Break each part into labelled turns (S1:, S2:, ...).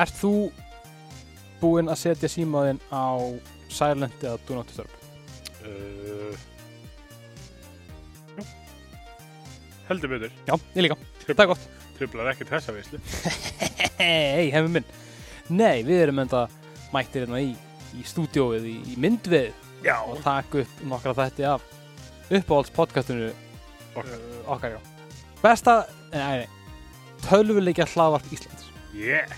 S1: Ert þú búinn að setja símaðinn á silent eða do not disturb?
S2: Uh, jú. Heldur betur.
S1: Já, ég líka.
S2: Trufl-
S1: Það er gott.
S2: Truflar ekkert þessa veislu.
S1: Hei, hefum minn. Nei, við erum enda mættir hérna í, í stúdióið, í, í myndvið
S2: Já.
S1: og taka upp nokkra þætti af uppáhaldspodcastinu
S2: Okkar.
S1: uh, okkar já. Besta, nei, nei, tölvuleikja hlaðvarp Íslands.
S2: Yeah.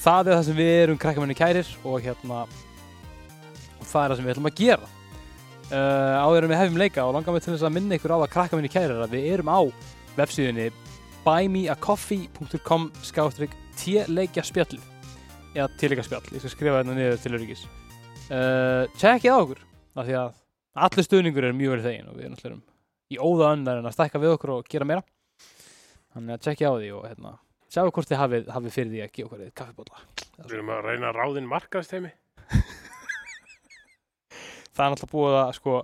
S1: það er það sem við erum krakkamenni kærir og hérna og það er það sem við ætlum að gera uh, áður en við hefum leika og langar mig til þess að minna ykkur á að krakkamenni kærir að við erum á vefsíðunni buymeacoffee.com skástrík t-leikja spjall eða t-leikja spjall, ég skal skrifa hérna niður til öryggis uh, checkið á okkur af því að allir stuðningur er mjög vel þegin og við erum allir um í óða önnar en að stækka við okkur og gera meira þannig að checkið á því og hérna sjáu hvort þið hafið, hafið fyrir því að gefa okkur eitt kaffibólla
S2: Við erum um að reyna að ráðin markaðstæmi.
S1: það er náttúrulega búið að sko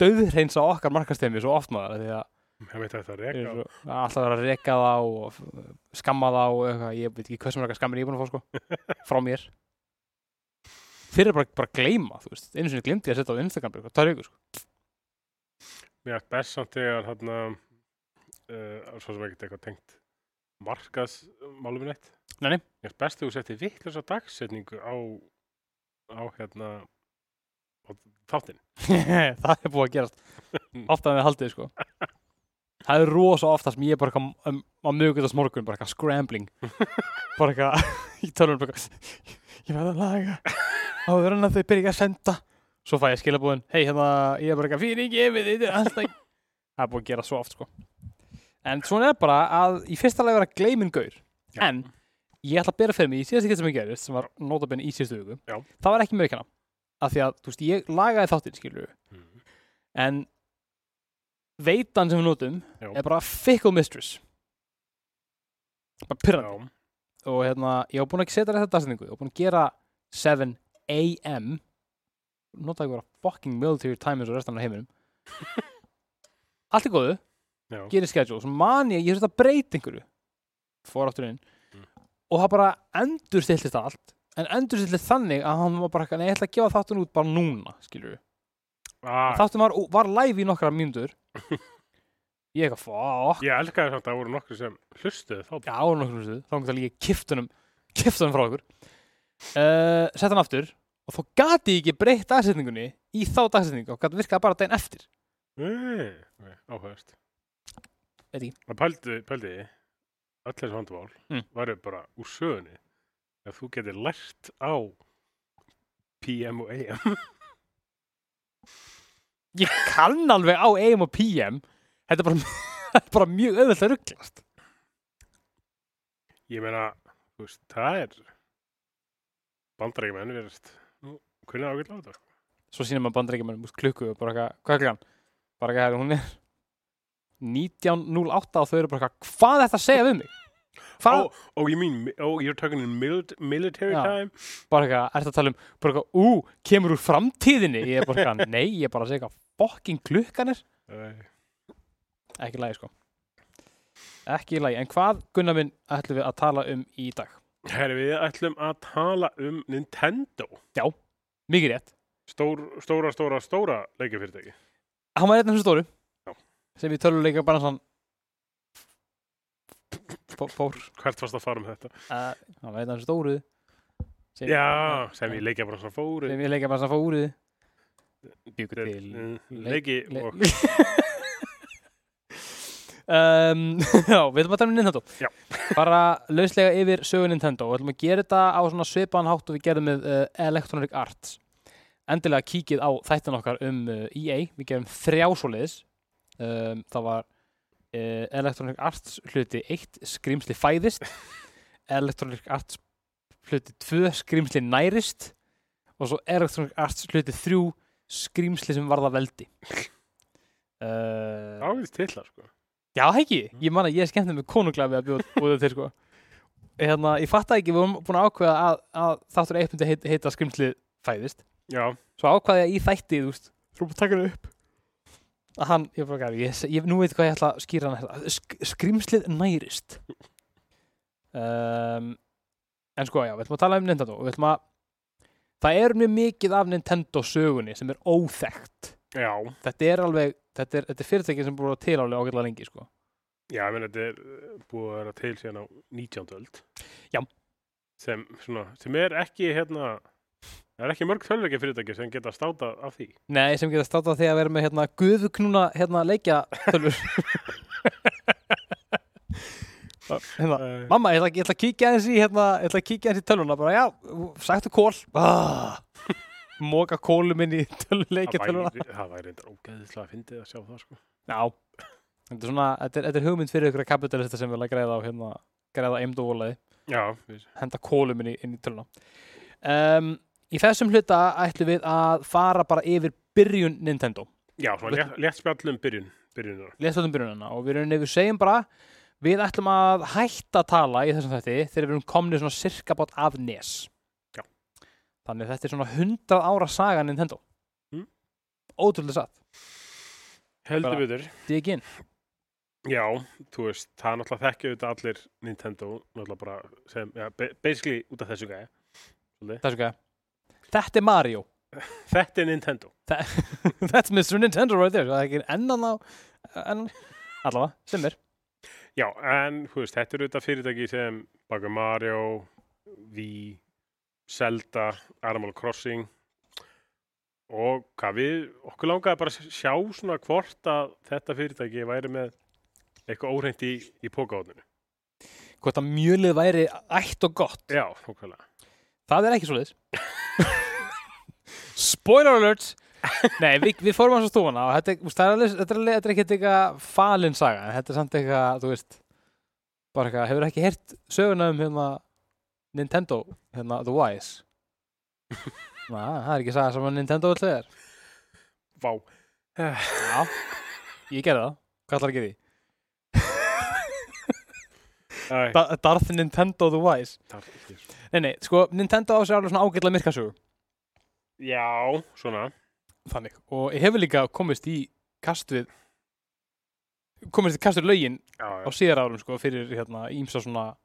S1: döðhreinsa okkar markastemi svo oft maður því að
S2: Ég veit að þetta er
S1: við erum
S2: reka.
S1: svo, að alltaf vera að reka þá og f- skamma þá og eitthvað, ég veit ekki hversu margar skammir ég er búin að fá sko frá mér þeir eru bara, bara að gleyma þú veist, einu sinni glemdi ég að setja á Instagram bara, það er ykkur sko,
S2: Mér er best samt þegar hérna, uh, svo sem ekkert eitthvað tengt markaðsmáluminn eitt.
S1: Nei, nei.
S2: Mér er best þegar þú settir vittlösa dagsetningu á, á hérna, á þáttinn.
S1: það er búið að gerast ofta en við haldið sko það er rosa ofta sem ég er bara eitthvað m- um, á mögutast morgun, bara eitthvað scrambling bara eitthvað í tölvun bara eitthvað, ég verð að laga áður en að þau byrja ekki að senda svo fæ ég skilabúðin, hei hérna ég er bara eitthvað fyrir ekki, við þetta er alltaf það er búið að gera svo oft sko en svona er bara að í fyrsta lagi vera gleimin gaur,
S2: Já.
S1: en ég ætla að bera fyrir mig í síðasta getur sem ég gerist sem var notabene í síðustu viku
S2: Já.
S1: það var ekki mögkana af því að, þú veist, ég lagaði þáttinn skilur
S2: Mm.
S1: en veitan sem við notum
S2: Já.
S1: er bara fickle mistress bara pyrrandi
S2: Já.
S1: og hérna, ég var búin að setja þetta dagsetningu ég var búin að gera 7 a.m. notaði ekki vera fucking military time eins og restan af heiminum allt er góðu
S2: Já.
S1: gerir schedule, svo man ég, ég þurfti að breyta einhverju fór áttur inn
S2: Mm.
S1: og það bara endur stillist allt en endur stillist þannig að hann var bara eitthvað, nei, ég ætla að gefa þáttun út bara núna skilur
S2: Ah,
S1: þáttum var, var live í nokkra mínútur ég eitthvað fokk
S2: Ég elskaði samt að það voru nokkru sem hlustuðu þá
S1: já, og nokkra mínútur þá kom það líka kiftunum kiftunum frá okkur uh, sett hann aftur og þá gati ég ekki breytt dagsetningunni í þá dagsetningu og gati virkaði bara daginn eftir
S2: mm. Áhugast
S1: Veit ekki.
S2: Það pældi, pældi því, öll þessi vandamál
S1: Mm.
S2: væru bara úr sögunni ef þú getur lært á PM og AM
S1: ég kann alveg á AM og PM þetta er bara, þetta er bara mjög auðvelt að rugglast
S2: Ég meina, þú veist, það er bandarækjumenn verðist nú, hvernig ágætla á þetta
S1: svo sínum maður bandaríkjumann múst klukku og bara eitthvað, hvað er klukkan? bara eitthvað, hún er 19.08 og þau eru bara eitthvað hvað er þetta að segja við mig? Hvað,
S2: Oh, oh, you mean, oh, you're talking in mil military
S1: Já.
S2: time
S1: bara eitthvað, ertu að tala um bara eitthvað, ú, kemur úr framtíðinni ég er bara eitthvað, nei, ég er bara að segja eitthvað fokking klukkan er,
S2: Æ,
S1: ekki í lagi sko ekki í lagi, en hvað Gunnar minn ætlum við að tala um í dag
S2: Herri, við ætlum að tala um Nintendo
S1: mikið rétt,
S2: Stór, Stóra, stóra, stóra leikjafyrirtæki
S1: hann var einn af þessu stóru
S2: Já.
S1: sem við tölum leika bara svona fór, fór
S2: Hvert varst að fara um þetta?
S1: uh, hann var einn af þessu stóru sem,
S2: Já, sem ég leikja bara svona fóru mm,
S1: sem við leika bara svona fóruð byggur til
S2: Leiki og
S1: um, Já, við ætlum að tala um Nintendo
S2: Já.
S1: Bara lauslega yfir sögu Nintendo og ætlum að gera þetta á svona svipaðan hátt og við gerðum með uh, Electronic Arts Endilega kíkið á þættin okkar um uh, EA, við gerum þrjá svoleiðis um, Það var uh, Electronic Arts hluti 1 skrimsli fæðist Electronic Arts hluti 2 skrimsli nærist og svo Electronic Arts hluti 3 skrimsli sem varða veldi uh,
S2: ávíðs titla sko
S1: Já, ekki, ég man að ég skemmti mig konunglega við að bjóða búið til sko Hérna, ég fatt ekki, við vorum búin að ákveða að, að þáttur eitt myndi heita, heita skrimslið fæðist
S2: Já,
S1: Svo ákvaði ég í þætti, þú veist Þú erum að taka hann upp Að hann, ég bara gæri, ég, ég, nú veit hvað ég ætla að hérna. skýra hann Sk Skrimslið nærist um, en sko já, við ætlum að tala um Nintendo og við ætlum að það er mjög mikið af Nintendo sögunni sem er óþekkt
S2: Já,
S1: þetta er alveg, þetta er, þetta er fyrirtæki sem búið að til alveg ágætlega lengi sko.
S2: já, ég meina þetta er eh, búið að vera til síðan á 19. öld.
S1: Já.
S2: Sem, svona, sem er ekki, hérna, það er ekki mörg tölvöki fyrirtæki sem geta státa af því.
S1: Nei, sem geta státað því að vera með hérna guðuknúna hérna leikja tölvur hérna,
S2: Uh,
S1: Mamma, ég ætla, ég ætla að kíkja eins í hérna, ég ætla að kíkja eins í tölvuna bara, já, sagtu kól ah, Móka kólum inn í tölvuleikja
S2: það
S1: tölvuna
S2: væri, það væri reyndar ógeðislega að fyndið að sjá það, sko.
S1: Já, þetta er svona þetta er, þetta er hugmynd fyrir ykkur kapitalista sem vilja græða á hérna, græða eimd og volaði
S2: Já, við,
S1: henda kólum inn í, inn í tölvuna um, Í þessum hluta ætlum við að fara bara yfir byrjun Nintendo
S2: já, svona létt, létt spjallum byrjun, byrjunina.
S1: lesfjöldum um byrjunina og við erum nefnir segjum bara við ætlum að hætta að tala í þessum þætti þegar við erum komnið svona cirka bát af nes
S2: Já.
S1: þannig að þetta er svona 100 ára saga Nintendo
S2: Mm.
S1: ótrúlega satt,
S2: Heldur
S1: Bara-
S2: við þurr.
S1: digin
S2: Já, þú veist, það er náttúrulega þekkja auðvitað allir Nintendo, náttúrulega bara sem, já, ba- basically út af þessu gæja.
S1: þessu gæja. þetta er Mario
S2: Þetta er Nintendo.
S1: that's Mr. Nintendo right there það er ekki ennan á en, allavega, sem er
S2: Já, en, þú veist, þetta er auðvitað fyrirtæki sem baka Mario, Wii, Zelda, Animal Crossing og hvað við, okkur langaði bara að sjá svona hvort að þetta fyrirtæki væri með eitthvað óreint í, í pókáðuninu.
S1: hvort að mjölið væri ætt og gott
S2: Já, okkarlega.
S1: það er ekki svoleiðis spoiler alert nei, við, við fórum hans á stofana og þetta, er- þú veist, það er alveg- þetta, er alveg- þetta er ekki eitthvað falin saga, en þetta er samt eitthvað þú veist, bara eitthvað hefur ekki heyrt söguna um hérna Nintendo, hérna The Wise na, það er ekki saga sem að Nintendo alltaf er
S2: Vá.
S1: já, ég gerði það, hvað ætlar að gera í
S2: Æ,
S1: Da- Darth Nintendo The Wise
S2: þar- hér.
S1: nei, nei, sko, Nintendo á sér alveg svona ágætlega myrkasögu
S2: Já, svona.
S1: þannig og ég hefur líka komist í kast við komist í kast við lögin
S2: Já,
S1: á síðar árum sko fyrir hérna ímsa svona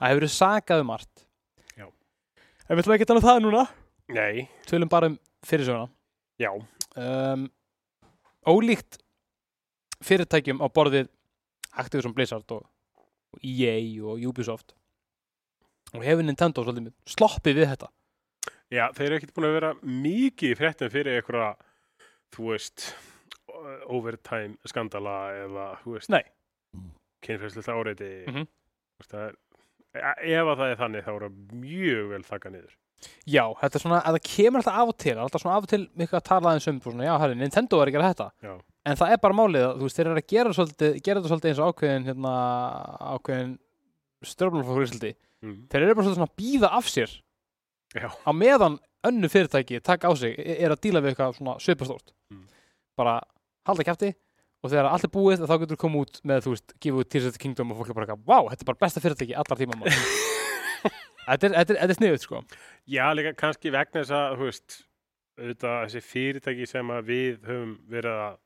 S1: það hefur verið sakað um margt
S2: Já.
S1: en við ætlum ekki að tala um það núna
S2: Nei,
S1: tölum bara um fyrirsöguna
S2: já,
S1: um, ólíkt fyrirtækjum á borðið Activision Blizzard og, og EA og Ubisoft og hefur Nintendo svolítið sloppið við þetta
S2: já, þeir eru ekkert búin að vera mikið í fréttum fyrir einhverja, þú veist, o- overtime skandala eða, þú veist,
S1: Nei.
S2: kynferðslegt áreiti,
S1: Mhm.
S2: þú veist, það er, e- ef að það er þannig þá eru mjög vel þakka niður.
S1: Já, þetta er svona, að það kemur alltaf af og til, það er alltaf svona af og til mikið að tala aðeins um, svona, já, herri, Nintendo er að gera þetta.
S2: Já.
S1: En það er bara málið að, þú veist, þeir eru að gera, svolítið, gera þetta svolítið eins og ákveðin, hérna, ákveðin stjórnmálfólkur í svolítið.
S2: Mm.
S1: Þeir eru bara svolítið svona að býða af sér
S2: Já.
S1: á meðan önnu fyrirtæki taka á sig, e- er að díla við eitthvað svona svipastórt.
S2: Mm.
S1: Bara halda kæfti og þegar allt er búið þá getur þú komið út með, þú veist, gefa út Tears of the Kingdom og fólk er bara eitthvað, vá, þetta er bara besta fyrirtæki allar tíma maður. þetta er, þetta er, þetta er sniðut, sko.
S2: Já, líka kannski vegna þess að, þú veist, auðvitað þessi fyrirtæki sem að við höfum verið að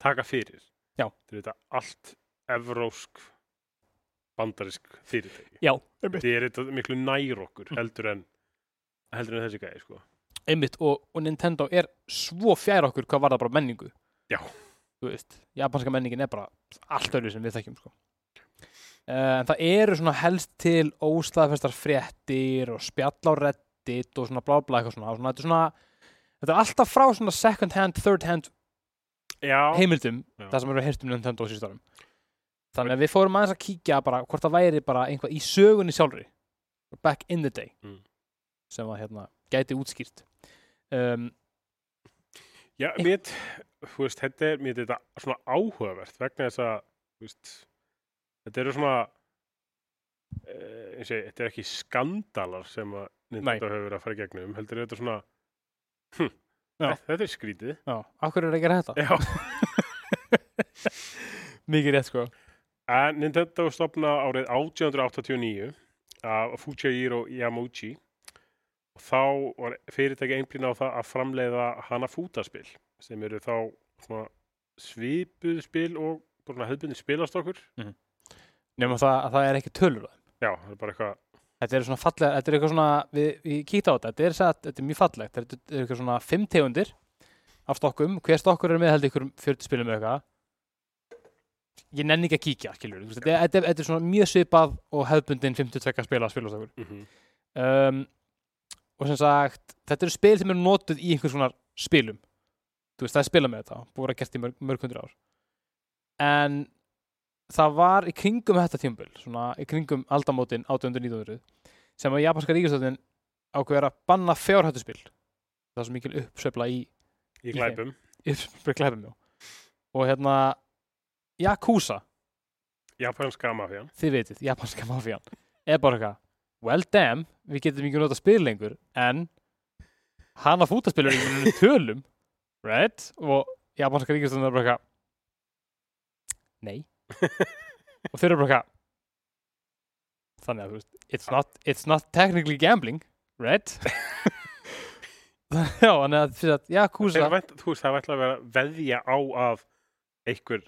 S2: taka fyrir.
S1: Já.
S2: Þetta er auðvitað allt evrósk bandarisk fyrirtæki.
S1: Já,
S2: Þetta er eitthvað miklu nær okkur heldur en, heldur en þessi gæði, sko.
S1: einmitt og, og Nintendo er svo fjær okkur hvað var það bara menningu
S2: Já.
S1: þú veist, japanska menningin er bara allt öðru sem við þekkjum sko. Eh, en það eru svona helst til óslaðfestar fréttir og spjall á reddit og svona blá blá eitthvað svona, svona, þetta, er svona þetta er alltaf frá svona second hand, third hand
S2: Já,
S1: heimildum,
S2: Já.
S1: það sem eru heyrst um Nintendo á síðustu árum þannig að við fórum aðeins að kíkja bara hvort það væri bara einhvað í sögunni sjálfri back in the day
S2: Mm.
S1: sem að hérna gæti útskýrt um,
S2: já mér, þú veist, þetta er, mér finnst þetta svona áhugavert vegna þess að, þú veist, þetta eru svona, eh, eins og ég, þetta er ekki skandalar sem að Nintendo hefur verið að fara í gegnum, heldur er þetta svona, hm,
S1: Já.
S2: þetta er skrítið.
S1: Já, af hverju er ekki að gera þetta?
S2: Já.
S1: Mikið rétt sko
S2: En Nintendo stopna árið 1889 af Fujihiro Yamauchi og þá var fyrirtæki einblín á það að framleiða Hanafuda-spil sem eru þá svona svipuð spil og bara hefðbundin spilastokkur.
S1: Nefnum það að það er ekki tölur á þeim.
S2: Já, það er bara eitthvað
S1: Þetta er svona fallega, þetta er eitthvað svona, við, við kíkta á þetta, þetta er, satt, þetta er mjög fallegt, þetta er eitthvað svona fimm tegundir af stokkum, hver stokkur er með held ykkur 40 spilum eða eitthvað. Ég nenni ekki að kíkja, skilur, þetta, er- þetta, er- þetta er svona mjög svipað og hefðbundin 52 spila spilastokkur.
S2: Mhm.
S1: Um, og sem sagt, þetta eru spil sem eru notuð í einhvers svona spilum. Þú veist, það er spilað með þetta, búið að vera gert í mörg, mörg hundur ár. En það var í kringum þetta tímbil, svona í kringum aldamótin 1800-1900, sem að japanska ríkistöðin ákveður að banna fjárhættuspil það er svo mikil uppsveifla í
S2: Í glæpum.
S1: uppsveifla glæpum já. og hérna Yakuza,
S2: Japanska mafjan.
S1: þið veitir, japanska mafían er bara eitthvað, well damn við getum ekki notað spil lengur en hana fútaspilur ekki munum tölum, right og japanska ríkistöðin er bara eitthvað nei og þeir eru bara eitthvað þannig að þú veist it's not, it's not technically gambling right já, þannig að fyrir að Yakuza
S2: Þeir vænt- Þú veist, það vært að vera veðja á að einhver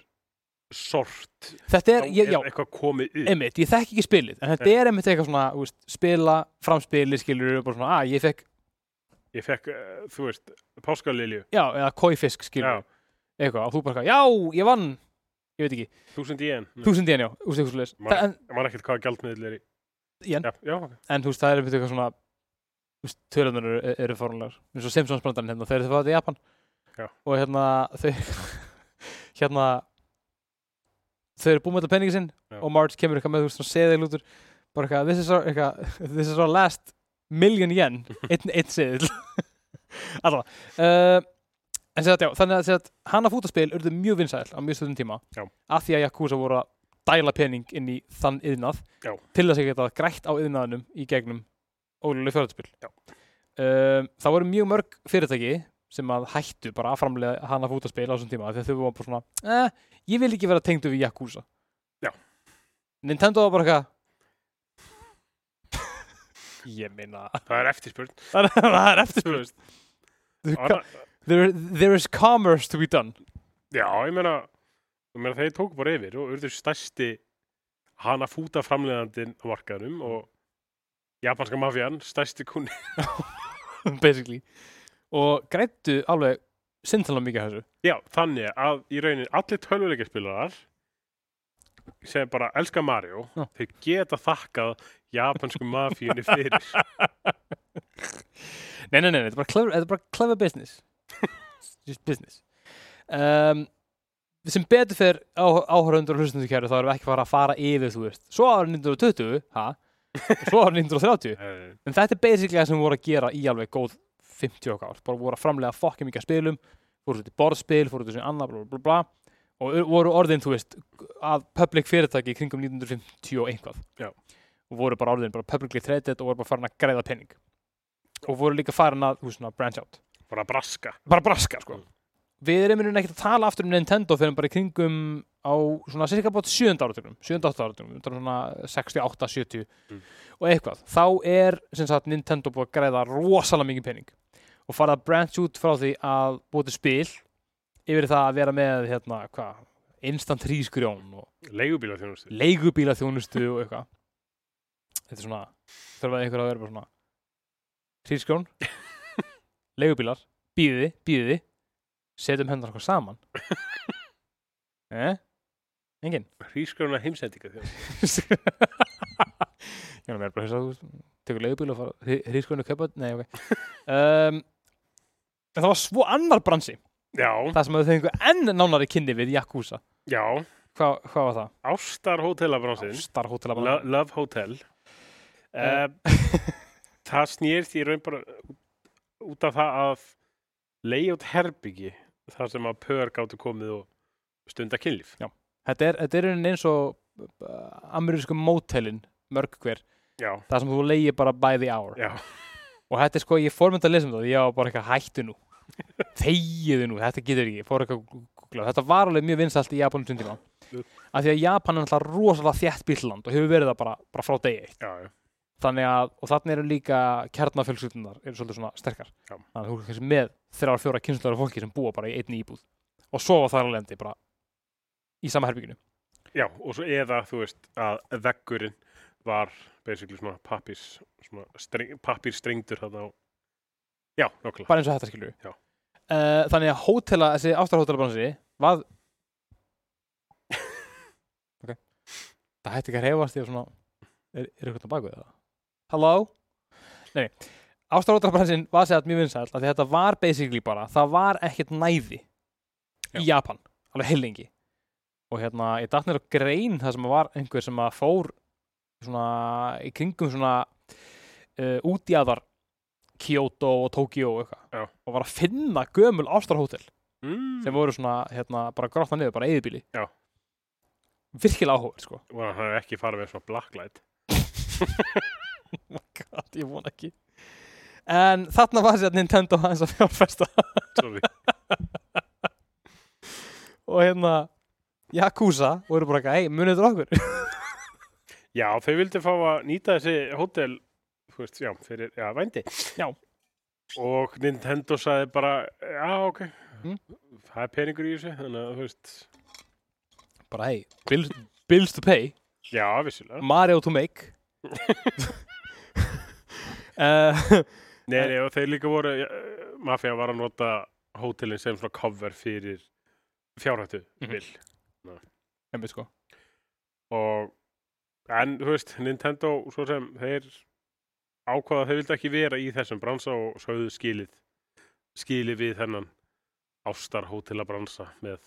S2: sort
S1: þetta er,
S2: þá
S1: ég, já,
S2: er eitthvað komið upp.
S1: einmitt, ég þekk ekki spilið en þetta
S2: Nei.
S1: er einmitt eitthvað svona, þú veist, spila framspili, skilur, bara svona, að ég fekk
S2: Ég fekk, eh, þú veist, páskalilju,
S1: já, eða kóifisk, skilur,
S2: já,
S1: eitthvað og þú bara, eitthvað, já, ég vann ég veit ekki,
S2: þúsund í en.
S1: þúsund yen, já, þú veist, eitthvað svoleiðis.
S2: Maður-
S1: Það- en,
S2: Ég man ekkert hvaða gjaldmiðl er í.
S1: yen,
S2: Já, já, ok.
S1: en þú veist, það er einmitt eitthvað svona þú veist, tölunar eru, eru fórnulegar eins og Simpsons brandarinn hérna, þegar þau fara til Japan
S2: Já.
S1: og hérna þau hérna þau eru búið með þetta penningi sinn
S2: Já.
S1: og Marge kemur eitthvað með þú veist, svona seðil út úr bara eitthvað, this is our, eitthvað, this is our last million yen, einn ein seðil allavega uh, en sér að já, þannig að, sér að hana fútaspil urðu mjög vinsæl á mjög stöðum tíma
S2: Já.
S1: af því að Yakuza voru að dæla pening inn í þann yðnað
S2: Já.
S1: til þess að geta grætt á yðnaðanum í gegnum ólulega fjörðarspil
S2: Já.
S1: um, það voru mjög mörg fyrirtæki sem að hættu bara að framlega hana fútaspil á þessum tíma af því að þau voru bara svona eh, ég vil ekki vera tengdu við Yakuza
S2: Já.
S1: Nintendo var bara eitthvað ég meina
S2: Það er eftirspurn.
S1: það er eftir
S2: Þú veist,
S1: there,
S2: annað-
S1: there is commerce to be done
S2: Já, ég meina, ég meina þeir tóku bara yfir og urðu stærsti hana fúta framleiðandinn á markaðnum og japanska mafjan, stærsti kunni
S1: basically og grættu alveg sinntala mikið af þessu
S2: Já, þannig að í raunin allir tölvuleikaspilarar sem bara elska Mario
S1: Já.
S2: þeir geta þakkað japansku mafíunni fyrir
S1: nei, nei, nei, nei, þetta er bara clever, þetta er bara clever business just business um, sem betur fyrr áhörundur og hlustundur kæru þá erum við ekki bara að fara yfir þú veist, svo ára 1920 ha? Og svo ára 1930
S2: Eh,
S1: en þetta er basically það sem við vorum að gera í alveg góð 50 okkar ár, bara voru að framlega fokkja mikið af spilum, fóru svo til borðspil fóru svo til annað, bla bla bla og ur- voru orðin, þú veist, að public fyrirtæki í kringum 1950 og einhvað
S2: Já.
S1: og voru bara orðin, bara publicly traded og voru bara farin að græða penning og voru líka farin að, þú veist, svona, branch out
S2: bara braska
S1: bara braska, sko
S2: Mm.
S1: við erum einhvern ekkert að tala aftur um Nintendo fyrir bara í kringum á svona cirka bát 7. áratugum 7. 8. áratugum, þetta er svona 68, 70
S2: Mm.
S1: og eitthvað, þá er sem sagt Nintendo búið að græða rosalega mikið pening og farið að branch út frá því að búið til spil yfir í það að vera með hérna, hvað, instant hrísgrjón og
S2: leigubíla þjónustu
S1: leigubíla þjónustu og eitthvað þetta er svona þarf að einhver að vera bara svona hrísgrjón leigubílar, bíði, bíði setjum hendur okkar saman eh? engin
S2: hrísgrjóna heimsendinga þjónustu
S1: ég er mér bara að hissa að þú tekur leigubíl og fara hrísgrjónu kaupa nei ok um, en það var svo annar bransi
S2: Já,
S1: það sem að þau fengu enn nánari kynni við Yakuza
S2: já,
S1: Hva, hvað var það?
S2: ástar hótelabransin
S1: Star Hotel
S2: Lo Love Hotel
S1: Eh.
S2: uh, Það snýrst í raun bara út af það að leigjátt herbyggi þar sem að pör gáttu komið og stunda kynlíf
S1: Þetta er, þetta er í rauninni eins og uh, amerísku mótelin mörg hver,
S2: Já,
S1: það sem þú leiði bara by the hour
S2: já,
S1: og þetta er sko, ég fór mynd að lesa um það ég var bara eitthvað hættu nú þegiðu nú, þetta getur ekki, ég fór eitthvað að googla. þetta var alveg mjög vinsalt í Japan um tíma
S2: Jú.
S1: af því að Japan er alltaf rosalega þjætt bílland og hefur verið það bara, bara frá degi eitt
S2: já, já.
S1: þannig að, og þannig eru líka kjarnafjölskyldunar eru svolítið svona sterkar
S2: Já.
S1: þannig að þú er kannski með þrjár, fjóra kynslar af fólki sem búa bara í einni íbúð og sofa þar alveg endi bara í sama herbygginu
S2: Já, og svo eða, þú veist, að veggurinn var basically svona pappís svona streng, pappís strengdur þarna á já, nokkulega
S1: bara eins og þetta skilur
S2: Já.
S1: þannig að hótela, þessi ástarhótelabransi var ok það hætti ekki að reyfast ég svona er, er eitthvað baku það hello nei, ástarhótelabransin var segja mjög vinsæll af því að þetta var basically bara það var ekkert næði í Japan, alveg heilingi og hérna, ég datt nýr á grein það sem var einhver sem að fór svona, í kringum svona uh, útjæðar Kyoto og Tokyo og
S2: Já.
S1: eitthvað og var að finna gömul ástarhótel
S2: mm.
S1: sem voru svona, hérna, bara grotna niður bara eðibíli
S2: Já.
S1: virkilega áhugað, sko
S2: og hann hefði ekki farið með svona blacklight
S1: oh my god, ég vona ekki en þarna var sér Nintendo aðeins að fjárfesta
S2: sorry,
S1: og hérna Yakuza voru bara eitthvað, hei, munið þetta okkur
S2: já, þau vildi fá að nýta þessi hótel þú veist, já, fyrir, já, vændi
S1: Já.
S2: og Nintendo sagði bara já, ok
S1: Mm.
S2: það er peningur í þessu, þannig að þú veist
S1: bara hei, bills, bills to pay
S2: já, vissulega
S1: Mario to make uh,
S2: Nei, nei, og þeir líka voru, eh, Mafia var að nota hótelin sem svona cover fyrir fjárhættu
S1: Mhm.
S2: bil.
S1: Emmi sko
S2: Og, en, þú veist, Nintendo, svo sem þeir ákvaða að þeir vildi ekki vera í þessum bransa og sögðu skilið, skilið við þennan ástar hótelabransa með,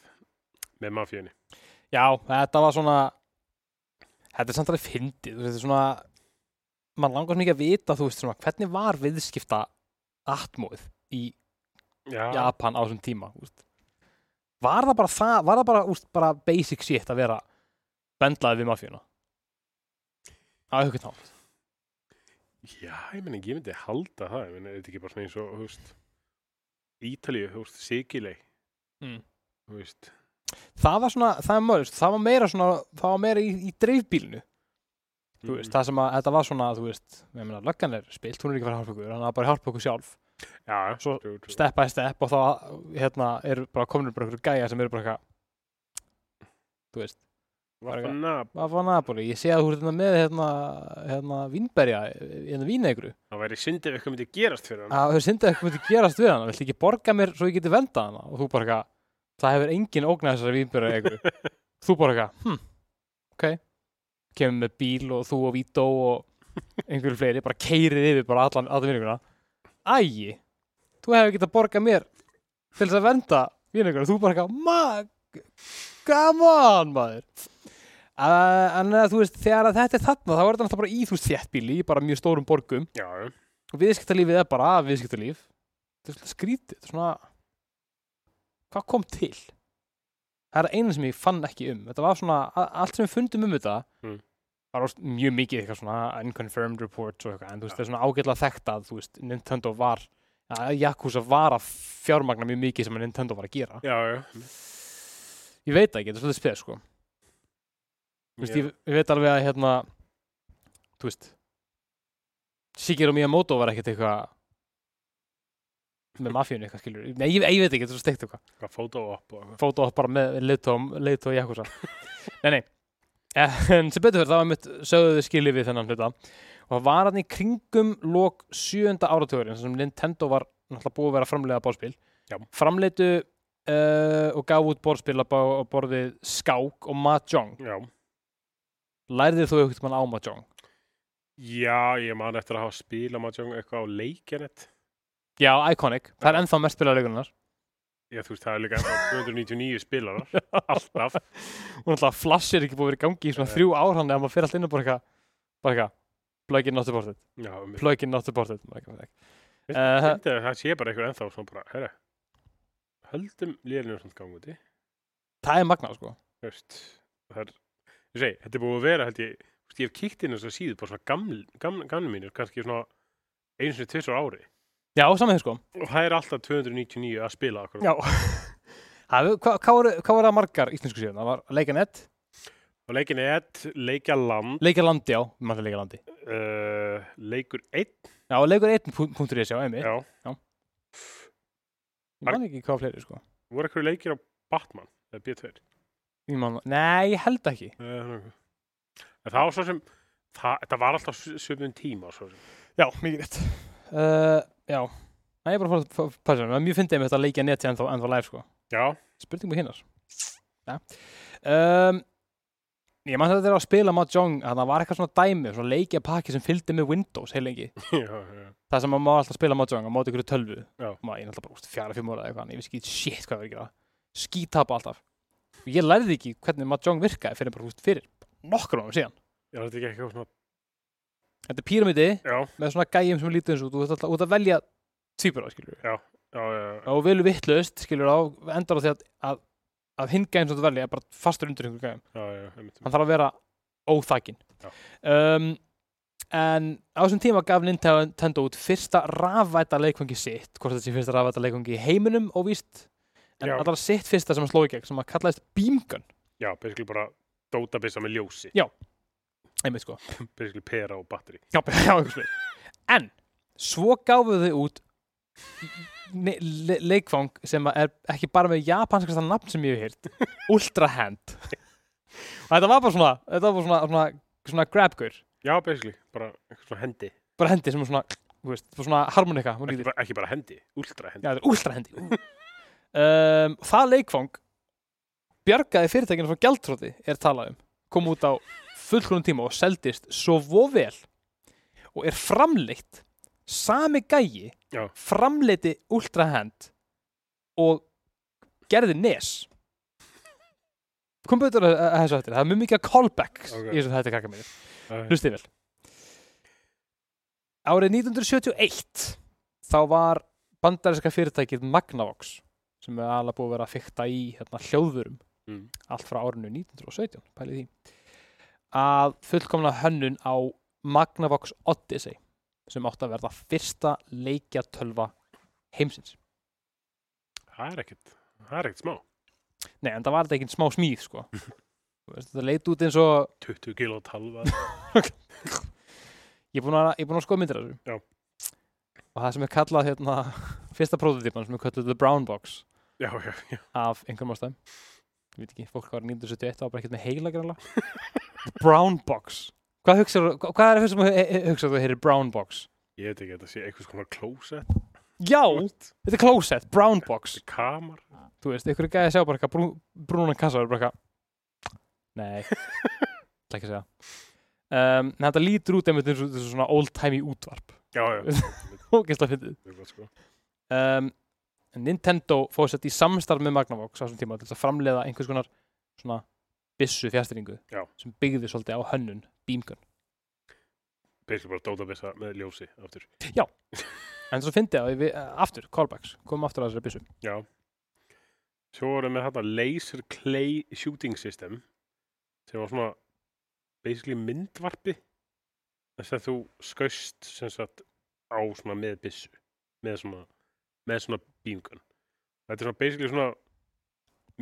S2: með mafíunni.
S1: Já, þetta var svona Þetta er samt alveg fyndið þú veist, Þetta er svona Man langar svo mikið að vita, þú veist, svona Hvernig var viðskipta atmóð í
S2: Já,
S1: Japan á þessum tíma úst. Var það bara það Var það bara, úst, bara basic shit að vera bendlaði við mafíuna Á einhvern nátt
S2: já, ég meni, ég myndi halda það, ég meni, þetta er ekki bara svona eins og, þú veist, Ítalíu, þú veist, Sigileg,
S1: Mm.
S2: þú veist,
S1: Það var svona, það er mörg Það var meira svona, það var meira í, í dreifbílinu
S2: mm.
S1: Þú
S2: Mhm.
S1: veist, það sem að þetta var svona, þú veist, ég meina, löggan er spilt, hún er ekki að fara að hjálpa okkur, hann er bara að hjálpa okkur sjálf,
S2: já,
S1: svo
S2: true, true.
S1: step by step og þá, hérna, eru bara kominur bara okkur gæja sem eru bara eitthvað, bara eitthvað-
S2: Vafna,
S1: hvað var Napoli, ég sé að þú ert hérna með, hérna, hérna, vínberja, hérna vínegru,
S2: Það væri syndið ef eitthvað myndi gerast fyrir hann.
S1: að þau syndið eitthvað myndi gerast við hana, viltu ekki borga mér svo ég geti vendað hana og þú bara eitthvað, það hefur engin ógnað þessari vínberja egru, þú bara eitthvað, hm, ok, kemur með bíl og þú og Vító og einhverju fleiri, bara keirið yfir bara allan, allan vinninguna Æi, þú hefur getað borgað mér til þess að venda vinninguna, þú bara eitthvað, ma come on maður Uh, en eh, þú veist, þegar að þetta er þarna þá er þetta náttúrulega bara í þú veist þéttbíli í bara mjög stórum borgum
S2: Já, já.
S1: og viðskiptalífið er bara að viðskiptalíf þetta er svolítið skrítið þetta er svona hvað kom til það er eina sem ég fann ekki um þetta var svona, a- allt sem við fundum um þetta
S2: Mm.
S1: var oft mjög mikið eitthvað svona unconfirmed reports og eitthvað en þú veist, það er svona ágætlega þekkt að þú veist, Nintendo var að Yakuza var að fjármagna mjög mikið sem að Nintendo var að gera
S2: já, já.
S1: ég veit það ekki, þetta er svolítið spes sko Þú veist, ég, ég veit alveg að hérna þú veist Shigeru Miyamoto var ekkert eitthvað með mafíunni eitthvað skilur nei, ég, ég veit ekki, þetta er svo steikt eitthvað
S2: Hvað fóta og upp og eitthvað.
S1: fóta upp bara með leitum, leitum og jakusa nei, nei en sem betur fyrir það var mitt sögðuðu skilið við þennan hluta og það var hann í kringum lok sjöunda áratugurinn sem Nintendo var náttúrulega búið að vera að framleiða bórspil
S2: Já.
S1: framleitu uh, og gaf út bórspil á bá- á borðið Skák og Mahjong
S2: Já.
S1: lærðið þú eitthvað mann á Mahjong
S2: Já, ég man eftir að hafa spila Mahjong eitthvað á leikjanett.
S1: Já, Iconic, það er ennþá mest spilað leikunar
S2: Ég þú veist, það er líka ennþá 299 spilarar. Alltaf.
S1: og náttúrulega Flash er ekki búið að vera í gangi í svona
S2: Nei.
S1: þrjú ár hann eða maður fyrir alltaf inn og bara eitthvað bara eitthvað, plug in not supported
S2: Já, mér
S1: plug in not supported maður ekki, maður ekki. Eh,
S2: finnst að það sé bara eitthvað ennþá svona bara, herra, höldum lérinu svona gang úti.
S1: það er magnað sko
S2: Þú veist, það er, ég segi, þetta er búið að vera, held ég, þú veist, ég hef kíkt inn þess að síðu bara svona gaml, gaml, gaml mínir, kannski svona einu sinni tvisar ári.
S1: Já, saman þér sko
S2: Og það er alltaf 299 að spila akkur.
S1: Já Hvað hva, hva voru hva voru það margar íslensku síðan? Það var Leikanett,
S2: Og leikin er 1, leikja land,
S1: Leikalandi já, við mannum Leikalandi
S2: uh, leikur 1,
S1: Já, leikur 1.is já, emi Ég
S2: já,
S1: man ekki hvað fleiri sko
S2: voru eitthvað leikir á Batman, eða B2.
S1: Ég man, Nei, ég held ekki
S2: Uh, en það var svo sem, það, þetta var alltaf sömum tíma svo. sem.
S1: Já, mikið rétt uh, Já, Nei, ég er bara að fara að passa mig Mjög fyndið með þetta að leikja neti ennþá, ennþá live sko.
S2: Já,
S1: Spurning með hinnar ja. um, Ég mann að þetta er að spila Mahjong að það var eitthvað svona dæmi svona leikja pakki sem fylgdi með Windows heilengi
S2: já, já.
S1: það sem maður má alltaf spila Mahjong á móti ykkur tölvu
S2: Já.
S1: maður er alltaf bara úst, fjara fimm ára eða eitthvað ég veist ekki shit hvað ég var að gera skítapa alltaf og ég lærði ekki hvernig Mahjong virkaði fyrir bara úst, fyrir nokkur árum síðan
S2: Já, þetta er ekki eitthvað svona,
S1: þetta er píramidi
S2: já,
S1: með svona gæjum sem lítið eins og þú ert alltaf út að velja tvíbura skilur
S2: já, já, já,
S1: og velu vittlust skilur á endar á því að, að, að hinn gæjum sem þú velja er bara fastur undir einhver gæjum
S2: já, já, einmitt.
S1: hann þarf að vera óþakinn um, en á þessum tíma gaf Nintendo út fyrsta rafvæta leikvangi sitt hvort þetta sé fyrsta rafvæta leikvangi í heiminum óvíst en
S2: Já.
S1: allra sitt fyrsta sem hann sló í gegn sem að kallaðist Beam Gun
S2: já, basically bara dótabissa með ljósi,
S1: einmitt sko
S2: basically pera og batteri.
S1: já, já, einhver spil. en svo gáfu þau út ne- le leikfang sem að er ekki bara með japanskasta nafn sem ég hef hýrt Ultra Hand og þetta var bara svona þetta var bara svona, svona, svona grabgur
S2: Já, basically, bara eitthvað svona hendi,
S1: bara hendi sem er svona, þú veist, bara svona harmonika hún
S2: ekki
S1: lítur.
S2: bara, ekki bara hendi, ultra hendi.
S1: já, þetta er Ultra Hendi um, það leikfang bjargaði fyrirtækinu frá gjaldtróti er talað um, kom út á fullkonum tíma og seldist svo vovel og er framleitt sami gæi
S2: Já.
S1: framleiti Ultra Hand og gerði nes kom betur að, að að þessu hættir það er mjög mikið callbacks
S2: Ok.
S1: í þessu hættir krakka minni
S2: Já,
S1: Hlustið vel. Árið 1971 þá var bandarinska fyrirtækið Magnavox sem er alveg búið að vera að fykta í hérna, hljóðvurum
S2: Mm.
S1: allt frá árinu 1917, pælið því að fullkomna hönnun á Magnavox Odyssey sem átti að verða fyrsta leikjatölva heimsins.
S2: Það er ekkert, það er ekkert smá.
S1: Nei, en það var þetta ekki smá smíð, sko. Þú veist, þetta leit út eins og
S2: 20 kilo talva.
S1: ég er búinn að, ég er búinn að skoða myndir af þessu
S2: Já.
S1: og það sem er kallað hérna, fyrsta prototípan sem er kallað The Brown Box
S2: já, já, já,
S1: af einhverjum ástæðum ég veit ekki, fólk var 1971 og bara ekkert með heila greinlega The Brown Box hvað, hugsar, hvað er um það sem hugsaðu eh, þú heyrir Brown Box?
S2: ég veit ekki að þetta sé eitthvað svona klósett.
S1: Já,
S2: þú veist,
S1: þetta er closet, Brown Box
S2: Kamar.
S1: þú veist, einhverju gæði að sjá bara eitthvað brún, brúnan kassa og er bara eitthvað nei, það ekki að segja um, en þetta lítur út einmitt eins og eins og svona old timey útvarp
S2: Já, já,
S1: og gæsla fyndið
S2: það er gott sko.
S1: um, Nintendo fór sett í samstarf með Magnavox á þessum tíma til þess að framleiða einhvers konar svona byssu fjastringu
S2: Já.
S1: sem byggði svolítið á hönnun bímgun.
S2: Basically bara dótabissa með ljósi aftur.
S1: En svo fyndi að við, eh, aftur, callbacks, komum aftur að þessari byssu.
S2: Já Svo vorum við þetta laser clay shooting system sem var svona basically myndvarpi þess að þú skaust sem sagt á svona með byssu með svona, með svona bíngun Þetta er svona basically svona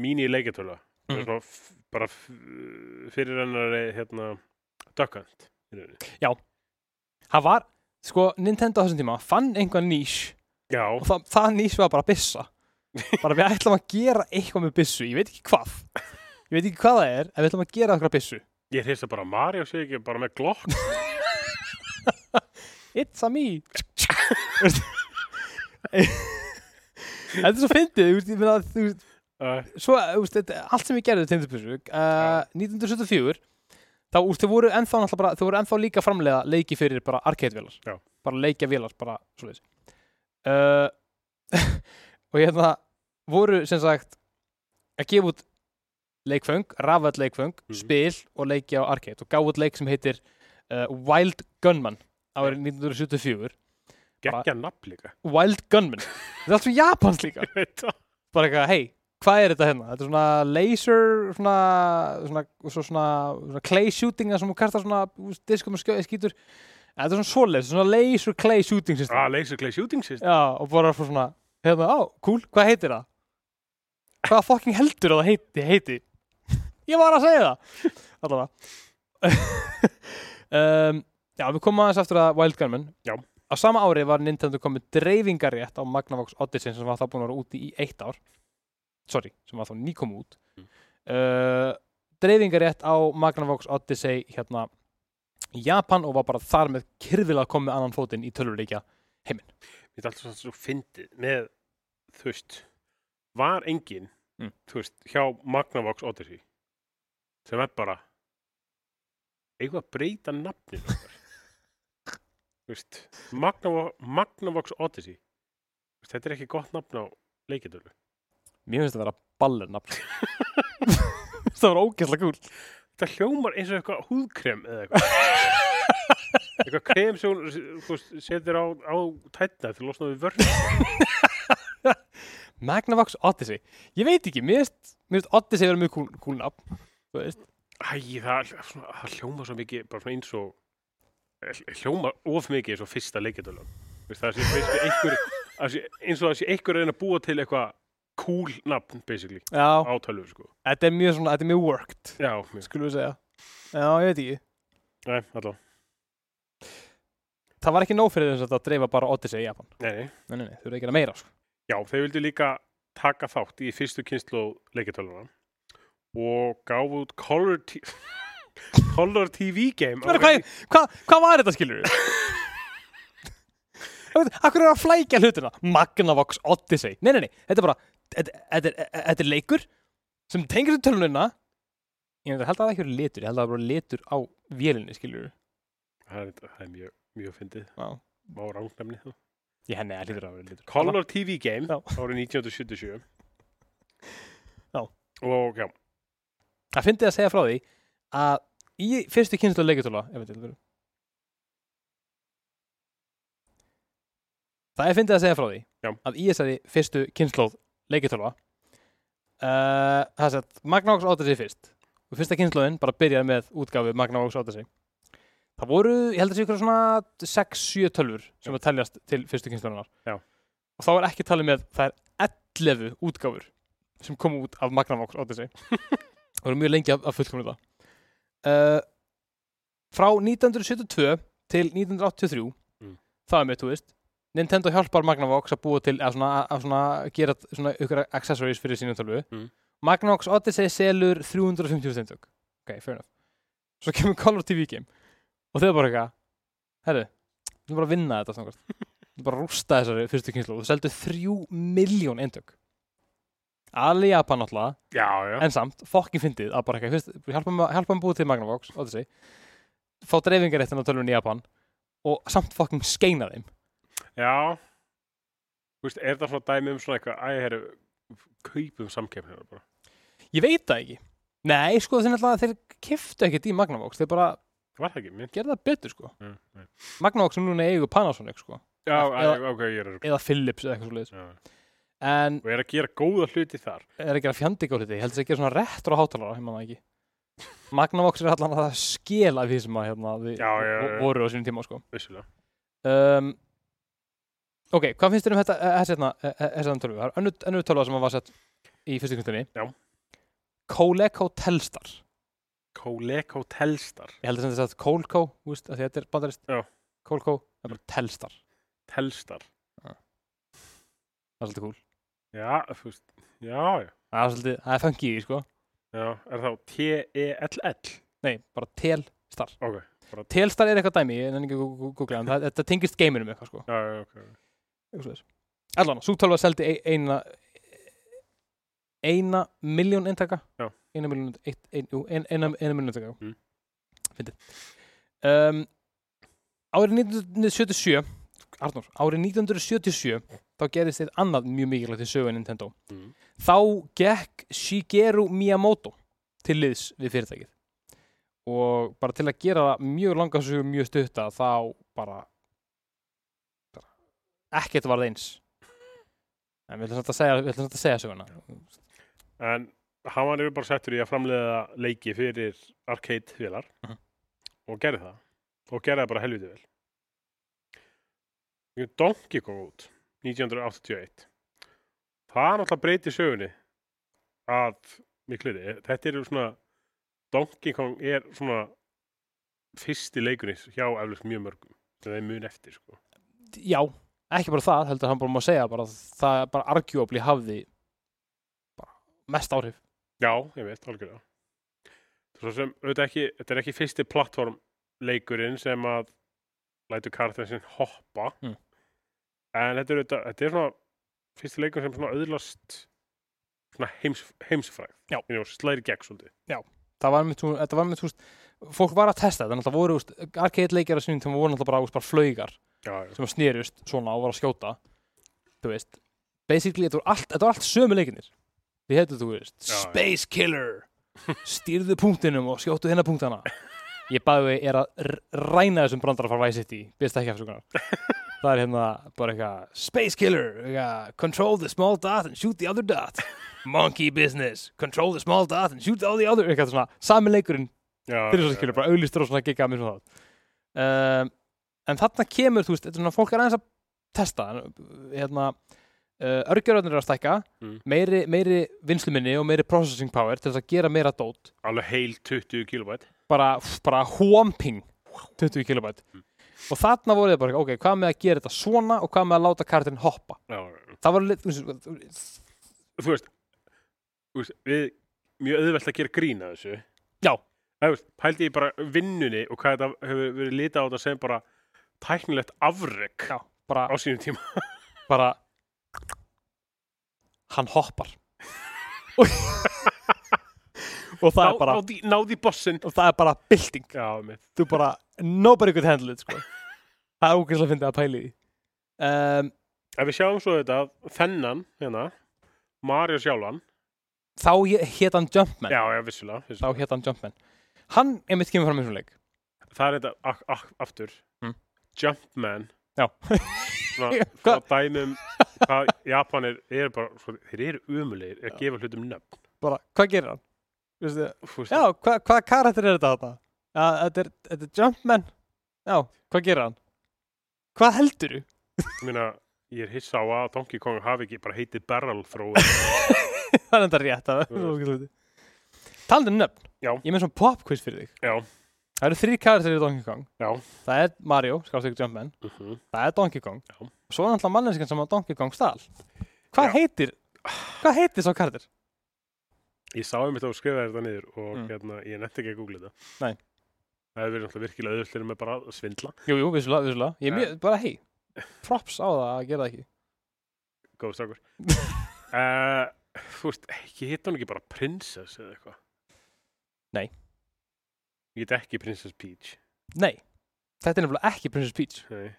S2: mini leikatöla mm.
S1: Mhm.
S2: svona f- bara f- fyrir hennari hérna dökkant
S1: Það var, sko, Nintendo á þessum tíma fann einhver nýs
S2: Já,
S1: og það, það nýs var bara byssa. Bara við ætlum að gera eitthvað með byssu, ég veit ekki hvað. Ég veit ekki hvað það er, en við ætlum að gera eitthvað byssu.
S2: ég hreist að bara Mario sé ekki bara með glokk
S1: It's a me Veist- Þetta er svo fyndið þú veist, ég meina, þú veist,
S2: uh,
S1: svo, þú veist, þetta, allt sem ég gerði tindabyssu, uh, 1974 þá úst, þau voru ennþá náttúrulega bara, þau voru ennþá líka að framleiða leiki fyrir bara arcade-vélar,
S2: Já.
S1: bara leikja-vélar bara svoleiðis uh, og hérna voru sem sagt að gefa út leikföng, rafætt leikföng
S2: Mhm.
S1: spil og leiki á arcade og gáfa út leik sem heitir uh, Wild Gunman árið 1974
S2: geggja nafn líka
S1: Wild Gunman, þetta er allt svo japans líka
S2: Þetta
S1: bara eitthvað, hei, hvað er þetta hérna? Þetta er svona laser, svona, svona, svona, svona, svona clay shooting það sem hún kastar svona þú veist, diskum og skjö- skýtur. En Þetta er svona svoleiðis, svona laser clay shooting system.
S2: Ah, laser clay shooting system
S1: Já, og bara frá svona, hérna, á, cool, hvað heitir það? Hvað fucking heldur að það heiti, heiti? Ég var að segja það. Allavega. um, já, við komum aðeins aftur að Wild Gunman.
S2: Já.
S1: Á sama ári var Nintendo komið dreifingarétt á Magnavox Odyssey sem var þá búin að vera úti í eitt ár. Sorry, sem var þá nýkom út. Eh,
S2: Mm.
S1: Uh, dreifingarétt á Magnavox Odyssey hérna í Japan og var bara þar með kyrfilega komið annan fótinn í tölvuleikja
S2: Mér er alltaf svona svo fyndið með, þú veist, var engin,
S1: Mm.
S2: þú veist, hjá Magnavox Odyssey sem er bara eigum við að breyta nafninu okkar. þú veist, Magnavo, Magnavox Odyssey, Þú veist, þetta er ekki gott nafn á leikitölu.
S1: Mér finnst það að vera ballernafn Það var ógeðslega gúl
S2: Þetta hljómar eins og eitthvað húðkrem eða eitthvað. eitthvað krem sem hún þú veist, setur á, á tætna til að losna við vörn.
S1: Magnavox Odyssey Ég veit ekki, mér finnst, mér finnst Odyssey vera mjög kúl, kúl nafn Þú veist
S2: Æ, það, er svona, það hljóma svo mikið, bara svona eins og eh, hljóma of mikið eins og fyrsta leikjadölan. Það sé basically einhver, það sé, eins og það sé einhver að reyna að búa til eitthvað cool nafn, basically,
S1: Já,
S2: á tölvu, sko.
S1: þetta er mjög svona, þetta er mjög worked
S2: Já, mjög.
S1: Skulum við segja Já, ég veit ekki
S2: Nei, allavega.
S1: Það var ekki nóg fyrir þess að það dreifa bara Odyssey í Japan
S2: Nei, nei.
S1: Nei, nei, nei, þau eru ekki að meira sko.
S2: Já, þeir vildu líka taka þátt í fyrstu kynslu leikjadöluna og gáfu út Color, t Color TV game. á
S1: Hvað, hvað, hvað, hvað var þetta skilur við? Akkur er að flækja hlutina Magnavox Odyssey Nei, nei, nei, þetta er bara Þetta þetta er, þetta er leikur sem tengir til tölunina Ég held að það ekki verið litur Ég held að það var litur á vélinni skilur
S2: Það er, það er mjög, mjög fyndið.
S1: Já.
S2: Má rángnefni það.
S1: Ég henni að hlýtur að vera litur
S2: Color TV Game
S1: Já.
S2: árið 1977
S1: Já.
S2: og já,
S1: Það fyndi að segja frá því að í fyrstu kynslu leikutöla Það er fyndið að segja frá því
S2: Já.
S1: að í þessari fyrstu kynnslóð leikutöla uh, það er sett Magnavox Odyssey fyrst og fyrsta kynnslóðin bara byrjaði með útgáfu Magnavox Odyssey það voru, ég held að sé ykkur svona 6-7 tölfur sem að teljast til fyrstu kynnslóðunar
S2: Já.
S1: og þá er ekki talið með það er 11 útgáfur sem kom út af Magnavox Odyssey Það voru mjög lengi að- að fullkomna það. Uh, frá 1972 til 1983,
S2: Mm.
S1: það er með, þú veist, Nintendo hjálpar Magnavox að búa til, að svona, að svona gera svona ykkur accessories fyrir sínum tölvu.
S2: Mm.
S1: Magnavox Odyssey selur 350 steintök. Ok, fair enough. Svo kemur Call of TV game og þau bara eitthvað, herru, við erum bara að vinna þetta snakast. Við erum bara að rústa þessari fyrstu kynslu og þau seldu 3 miljón eintök. Alli Japan náttúrulega
S2: já, já.
S1: en samt, fokkin fyndið að bara eitthvað, fyrst, hjálpa hann að búið til Magnavox Odyssey, fá dreifingaréttin á tölvun í Japan og samt fokkin skeina þeim.
S2: já. Þú veist, er það svona dæmi um svona eitthvað, æ, herru, kaupum samkeppnina bara.
S1: Ég veit það ekki. Nei, sko, þeir náttúrulega, þeir kiftu ekkert í Magnavox, þeir bara
S2: Var það ekki minn?
S1: gerðu það betur, sko.
S2: Já, já,
S1: Magnavox er núna eigu Panasonic, sko,
S2: já
S1: Eða-
S2: æ, ok, ég er að rugla.
S1: eða Philips eða eitthvað svolítið.
S2: Já.
S1: En
S2: Og er að gera góða hluti þar.
S1: er að gera fjandi góð hluti, ég held þess að gera svona retro hátalara, ég manna ekki. Magnavox er allan að það skela því sem að hérna, við
S2: Já, já, já.
S1: voru á sínum tíma, sko.
S2: Vissulega.
S1: um, ok, hvað finnst þér um þetta þessi hérna, þessi hérna tölvu það er önnur, önnur tölva sem var sett í fyrstu kvistinni
S2: Já.
S1: Coleco Telstar
S2: Coleco Telstar.
S1: ég held að þetta er sagt Colco, þú veist, af því að þetta er bandarist
S2: Já.
S1: Colco, það er bara Telstar
S2: Telstar.
S1: það er svolítið cool,
S2: Já, þú veist, já, já.
S1: það er svolítið, það er fengi í því, sko
S2: Já, er þá E T-E-L-L?
S1: nei, bara Telstar
S2: Ok,
S1: Telstar er eitthvað dæmi, ég nenni ekki að gú- gú- googla en það- þetta tengist geiminum eitthvað, sko
S2: já, já, ok. ok.
S1: allan, svo tölva seldi ein- eina eina miljón eintaka
S2: Já.
S1: eina miljón ein, ein, jú, ein, eina, eina miljón eintaka
S2: Mm.
S1: mm. um, árið 1977 Arnór, árið 1977 þá gerist eitt annað mjög mikilvægt í sögu Nintendo
S2: Mm.
S1: þá gekk Shigeru Miyamoto til liðs við fyrirtækið og bara til að gera það mjög langa sögu mjög stutta þá bara, bara ekkert varð eins en við ætlum samt að segja, við ætlum samt að segja söguna
S2: En hann var yfir bara settur í að framleiða leiki fyrir arcade-vélar
S1: Mhm.
S2: og gerði það og gerði það bara helviti vel. Ég Donkey Kong út 1981 það er náttúrulega breyti sögunni að miklu liði. Þetta eru svona Donkey Kong er svona fyrsti leikunins hjá eflust mjög mörgum sem þeim mun eftir sko.
S1: já, ekki bara það, heldur hann bara má segja bara, að það bara arguably hafði bara mest áhrif
S2: Já, ég veit, algjörða. Svo sem, auðvitað ekki, þetta er ekki fyrsti plattform leikurinn sem að lætur karakterinn sinn hoppa
S1: Mm.
S2: en þetta er, þetta, þetta er svona fyrsti leikur sem svona öðlast svona heims, heimsfræg
S1: Já.
S2: slæri gegn svolítið
S1: það var með, þetta var með, þú veist, fólk var að testa þetta, náttúrulega voru, þú veist, arcade leikjar að sinni þegar voru náttúrulega bara, þú veist, bara flaugar
S2: já, já.
S1: sem að snerust svona og var að skjóta þú veist, basically þetta var allt, þetta var allt sömu leikinir við heitum, þú veist,
S2: Já, já.
S1: Space Killer stýrðu punktinum og skjóttu hérna punktana ég bæði við er að r- ræna þessum brandar að fara væsitt í byrst ekki afsökunar það er hérna bara eitthvað Space Killer, eitthvað, control the small dot and shoot the other dot monkey business, control the small dot and shoot all the other, eitthvað svona sami leikurinn
S2: Já,
S1: fyrir
S2: já,
S1: svo
S2: já.
S1: skilur, bara auðlistur og svona gigga mér svona það um, en þarna kemur, þú veist, þetta er svona fólk er aðeins að testa en, hérna, uh, örgjörðunir er að stækka
S2: Mm.
S1: meiri, meiri vinsluminni og meiri processing power til þess að gera meira dót
S2: alveg heil 20 kilobæt
S1: bara, bara homping 20 kilobæt og þarna voru þið bara, ok, hvað með að gera þetta svona og hvað með að láta kartinn hoppa
S2: já, já.
S1: það var, lit- þú veist,
S2: þú veist, þú veist við mjög auðvelt að gera grína þessu
S1: Já.
S2: Það, þú veist, pældi ég bara vinnunni og hvað þetta hefur verið litið á þetta sem bara tæknilegt afrek
S1: já, bara
S2: á sínum tíma
S1: bara hann hoppar og, og það er
S2: Ná-
S1: bara
S2: náði, náði bossin
S1: og það er bara bylting
S2: já, mitt
S1: þú bara, nobody could handle it sko. það er ógeðslega að finna að pæli því um,
S2: Ef við sjáum svo þetta, þennan, hérna, Mario sjálfan,
S1: þá hétt hann Jumpman
S2: já, já, vissulega,
S1: þá
S2: vissulega.
S1: hétt hann Jumpman hann einmitt kemur fram í svona leik
S2: það er þetta ak ak aftur,
S1: Mm.
S2: Jumpman,
S1: já,
S2: svona,
S1: Hva-
S2: svona dæmum, hvað Japanir eru bara, svo, þeir eru umulegir að gefa hlutum nöfn.
S1: bara, hvað gerir hann? Vistu,
S2: Þú veist,
S1: já, hva, hvaða karakter er þetta þarna? Já, þetta er, þetta er Jumpman já, hvað gerir hann? hvað heldur
S2: Ég meina, ég er hissa á að Donkey Kong hafi ekki bara heitið Barrel Throw.
S1: það er enda rétt að
S2: Þú
S1: talandi um nöfn,
S2: Já.
S1: ég er með svona pop quiz fyrir þig
S2: já,
S1: það eru þrý karakterir í Donkey Kong
S2: já,
S1: það er Mario, skást ykkur Jumpman
S2: uh -huh.
S1: það er Donkey Kong
S2: Já.
S1: og svo er náttúrulega manneskan sem að Donkey Kong stál hvað
S2: Já.
S1: heitir hvað heitir svo kartir?
S2: ég sá einmitt að skrifa þetta niður og
S1: Mm.
S2: hérna, ég nefndi ekki að googla þetta.
S1: Nei.
S2: Það hefur verið náttúrulega virkilega auðvöldlega með bara að svindla,
S1: Jú, jú, vissulega, vissulega ég er
S2: Já.
S1: mjög, bara hei, props á það að gera það ekki
S2: góð strákur. uh, þú veist, ég hitt hann ekki bara Princess eða eitthvað.
S1: Nei.
S2: Ég get ekki Princess Peach.
S1: nei, þetta er nefnilega ekki Princess Peach
S2: Nei.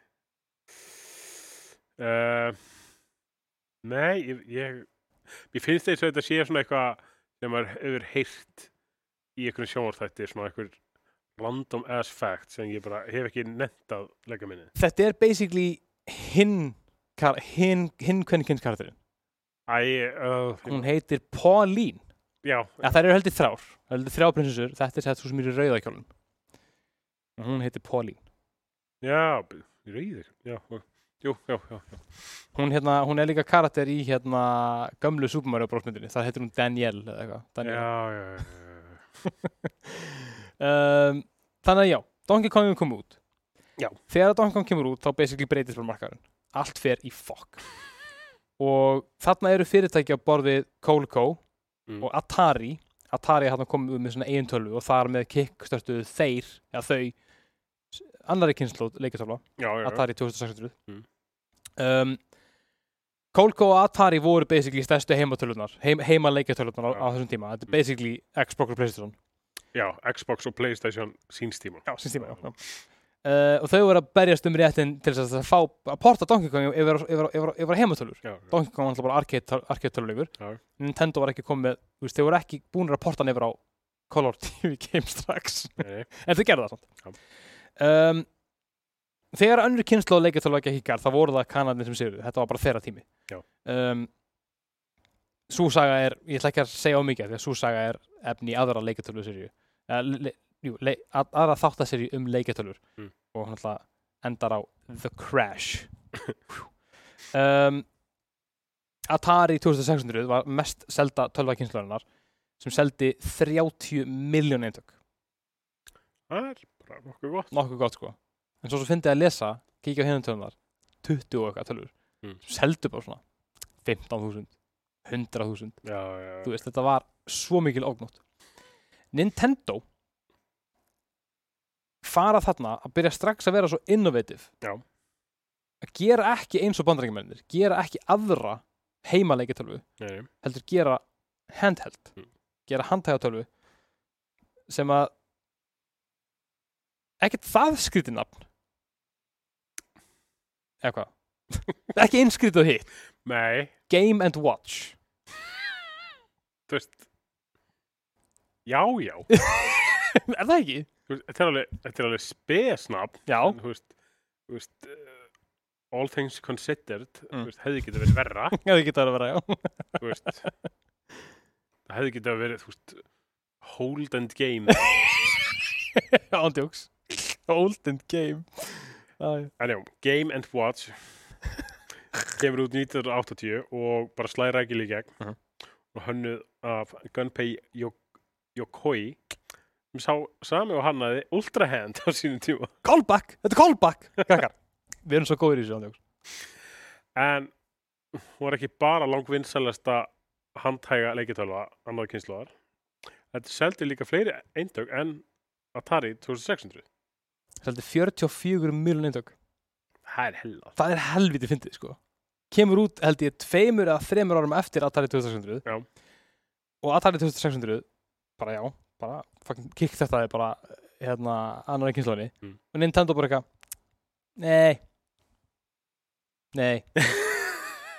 S2: Uh, nei, ég, ég, ég finnst þess að þetta sé svona eitthvað sem maður hefur heyrt í einhvern sjónvarþætti, svona einhver random ass fact sem ég bara hef ekki nefnt að leggja minni.
S1: þetta er basically hinn kar- hinn hin, kvenkins kartirinn
S2: Æ, uh,
S1: hún heitir Pauline
S2: já,
S1: ja, það eru heldur þrjár, það eru heldur þrjár prinsessur þetta er sett svo sem er í rauðakjólum og hún heitir Pauline
S2: já, reyðir, já, og- jú, já, já, já.
S1: hún, hérna, hún er líka karakter í hérna gömlu Super Mario Bros. myndinni það heitir hún Danielle eða eitthvað Danielle.
S2: Já, já, já, já.
S1: um, þannig að já, Donkey Kong kom út
S2: Já.
S1: þegar Donkey Kong kemur út þá basically breytist bara markaðurinn allt fer í fokk og þarna eru fyrirtæki á borðið Coleco
S2: Mm.
S1: og Atari Atari hann komið með svona eigin tölvu og þar með kickstörtuðu þeir eða þau s- annarri kynnslóð leikastofla
S2: já, já, já.
S1: Atari 2600
S2: Mm.
S1: um, Coleco og Atari voru basically stærstu heimatölunar heim, heimaleikatölurnar á, á
S2: Já.
S1: þessum tíma þetta
S2: Mm.
S1: er basically Xbox og Playstation
S2: Já, Xbox og Playstation síns tíma.
S1: Já, síns tíma, já. já. Uh, og þau voru að berjast um réttin til þess að fá að porta Donkey Kong yfir, á- yfir, á- yfir, á- yfir á heimatölur.
S2: Já, já.
S1: Donkey Kong var alltaf bara arcade- arcade-töluleikur.
S2: Já.
S1: Nintendo var ekki komið, með, þú veist, þau voru ekki búinir að porta hann yfir á Color TV Game strax.
S2: Nei, nei.
S1: en þau gerðu það samt. Um, þegar önnur kynslu á leikatölu ekki hikkar, þá voru það kanadin sem séu, þetta var bara þeirra tími.
S2: Já.
S1: Um, sú saga er, ég ætla ekki að segja ómikið, því að sú saga er efni í aðra leikatölu serju. Uh, le, jú, le, að, aðra þáttaserju um leikatölur
S2: Mm.
S1: og hann alltaf endar á The Crash. Hjú. um, Atari 2600 var mest selda tölvakynsluðunar sem seldi 30 miljón eintök
S2: Það er bara nokkuð gott.
S1: nokkuð gott sko en svo svo fyndi ég að lesa, kíkja á hinum tölunar 20 og eitthvað tölur
S2: Mm.
S1: sem seldu bara svona 15.000 100.000,
S2: Já, já, já.
S1: þú veist þetta var svo mikil ógnótt Nintendo fara þarna að byrja strax að vera svo innovative
S2: Já.
S1: að gera ekki eins og bandarækjumennir gera ekki aðra heimaleikjartölvu
S2: Nei, nei.
S1: heldur gera handheld
S2: Mm.
S1: gera handhægatölvu sem að ekkert það skrítið nafn eða hvað ekki einskrítið og hitt
S2: Nei,
S1: Game and Watch
S2: þú veist Já, já
S1: er það ekki?
S2: Þú veist, Þetta er alveg, þetta er alveg spesnafn
S1: Já,
S2: en, Þú veist, þú veist uh, All things considered
S1: Mm.
S2: þú veist, hefði getað verið verra
S1: ef þið getur að vera, já
S2: þú veist Það hefði getað verið, þú veist Hold and game
S1: Ándjóks Old and game Æ.
S2: En já, Ah, Game and Watch kemur út 1980 og bara slæði rækil í gegn
S1: Mhm.
S2: og hönnuð af Gunpei Yok- Yokoi sem sá sami og hannaði Ultra Hand á sínum tíma
S1: Callback, þetta er callback Krakkar, við erum svo góðir í þessu ándjóks
S2: en hún var ekki bara langvinnselasta handhæga leikitölva annar kynsluðar þetta seldi líka fleiri eindög en Atari 2600
S1: Seldi 44 miljón eintök
S2: það er hella
S1: Það er helviti fyndið sko Kemur út held ég tveimur eða þremur árum eftir Atari 2600
S2: Já.
S1: Og Atari 2600 bara já, bara fucking kikk þetta er bara hérna annar kynnslóðinni
S2: Mm.
S1: og Nintendo bara eitthvað Nei Nei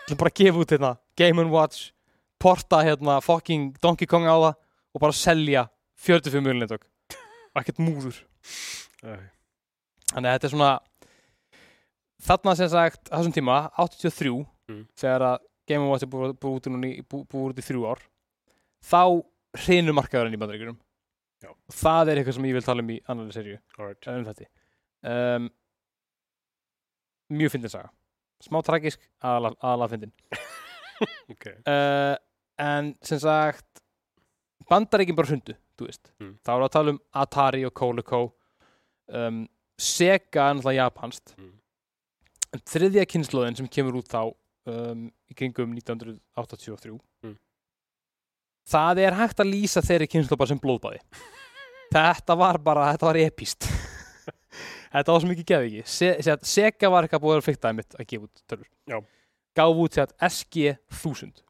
S1: ætlum bara að gefa út hérna Game Watch porta hérna fucking Donkey Kong á það og bara selja 45 miljonin tök og ekkert múður þannig að þetta er svona þarna sem sagt á þessum tíma 83
S2: Mm.
S1: þegar að Game Watch er búið búið út, í núna í- bú, bú út í þrjú ár þá hreinur markaðurinn í bandaríkjurum
S2: Já.
S1: og það er eitthvað sem ég vil tala um í annari serju
S2: alright
S1: um þetta um, mjög fyndin saga smá tragisk aðalega fyndin
S2: ok
S1: uh, en sem sagt bandaríkin bara hrundu, þú veist
S2: Mm.
S1: þá erum við að tala um Atari og Coleco um, Sega er náttúrulega japanst
S2: Mm.
S1: en þriðja kynnslóðin sem kemur út þá um, í kringum 1983
S2: Mm.
S1: það er hægt að lýsa þeirri kynnslóð bara sem blóðbæði þetta var bara, þetta var epíst þetta var svo mikið geði ekki Se, sem sagt, Sega var eitthvað búið að fyrta mitt að gefa út tölur
S2: Já.
S1: gáf út sem sagt SG 1000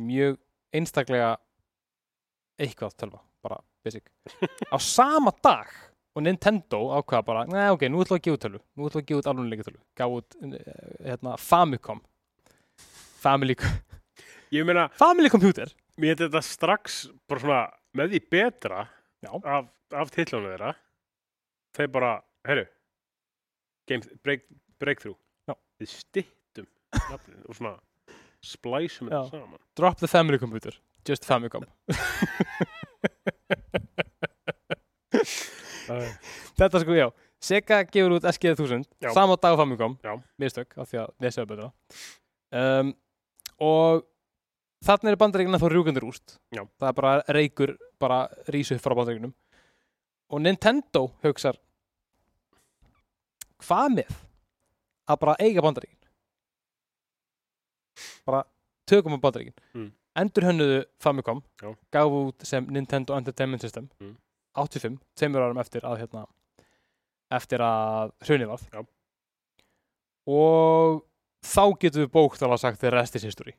S1: mjög einstaklega eitthvað tölva, bara basic á sama dag og Nintendo ákvaða bara, neða ok, nú ætlum við að gefa út tölvu nú ætlum við að gefa út alveg tölvu gaf út eh, hérna, Famicom Family,
S2: ég meina
S1: family Computer
S2: Mér hefði þetta strax bara svona með því betra
S1: Já.
S2: af, af titlunum þeirra þeir bara, herru game, break, breakthrough
S1: Já.
S2: við stittum nafninu og svona splæsum
S1: Já.
S2: þetta saman
S1: Drop the Family Computer, just Famicom Þetta sko, já, Sega gefur út SG1000
S2: Já.
S1: sama dag og Famicom,
S2: Já.
S1: mistök af því að nesa er betra um, og þarna eru bandaríkina þá rjúkandur úst
S2: Já.
S1: það er bara reykur bara rísu upp frá bandaríkinum og Nintendo hugsar hvað með að bara eiga bandaríkin bara tökum á bandaríkin
S2: Mm.
S1: endurhönnuðu Famicom
S2: Já.
S1: gafu út sem Nintendo Entertainment System
S2: Mm.
S1: 85, tveimur árum eftir að hérna, eftir að hrunið varð
S2: Já.
S1: og þá getum við bóktálega sagt þegar restis history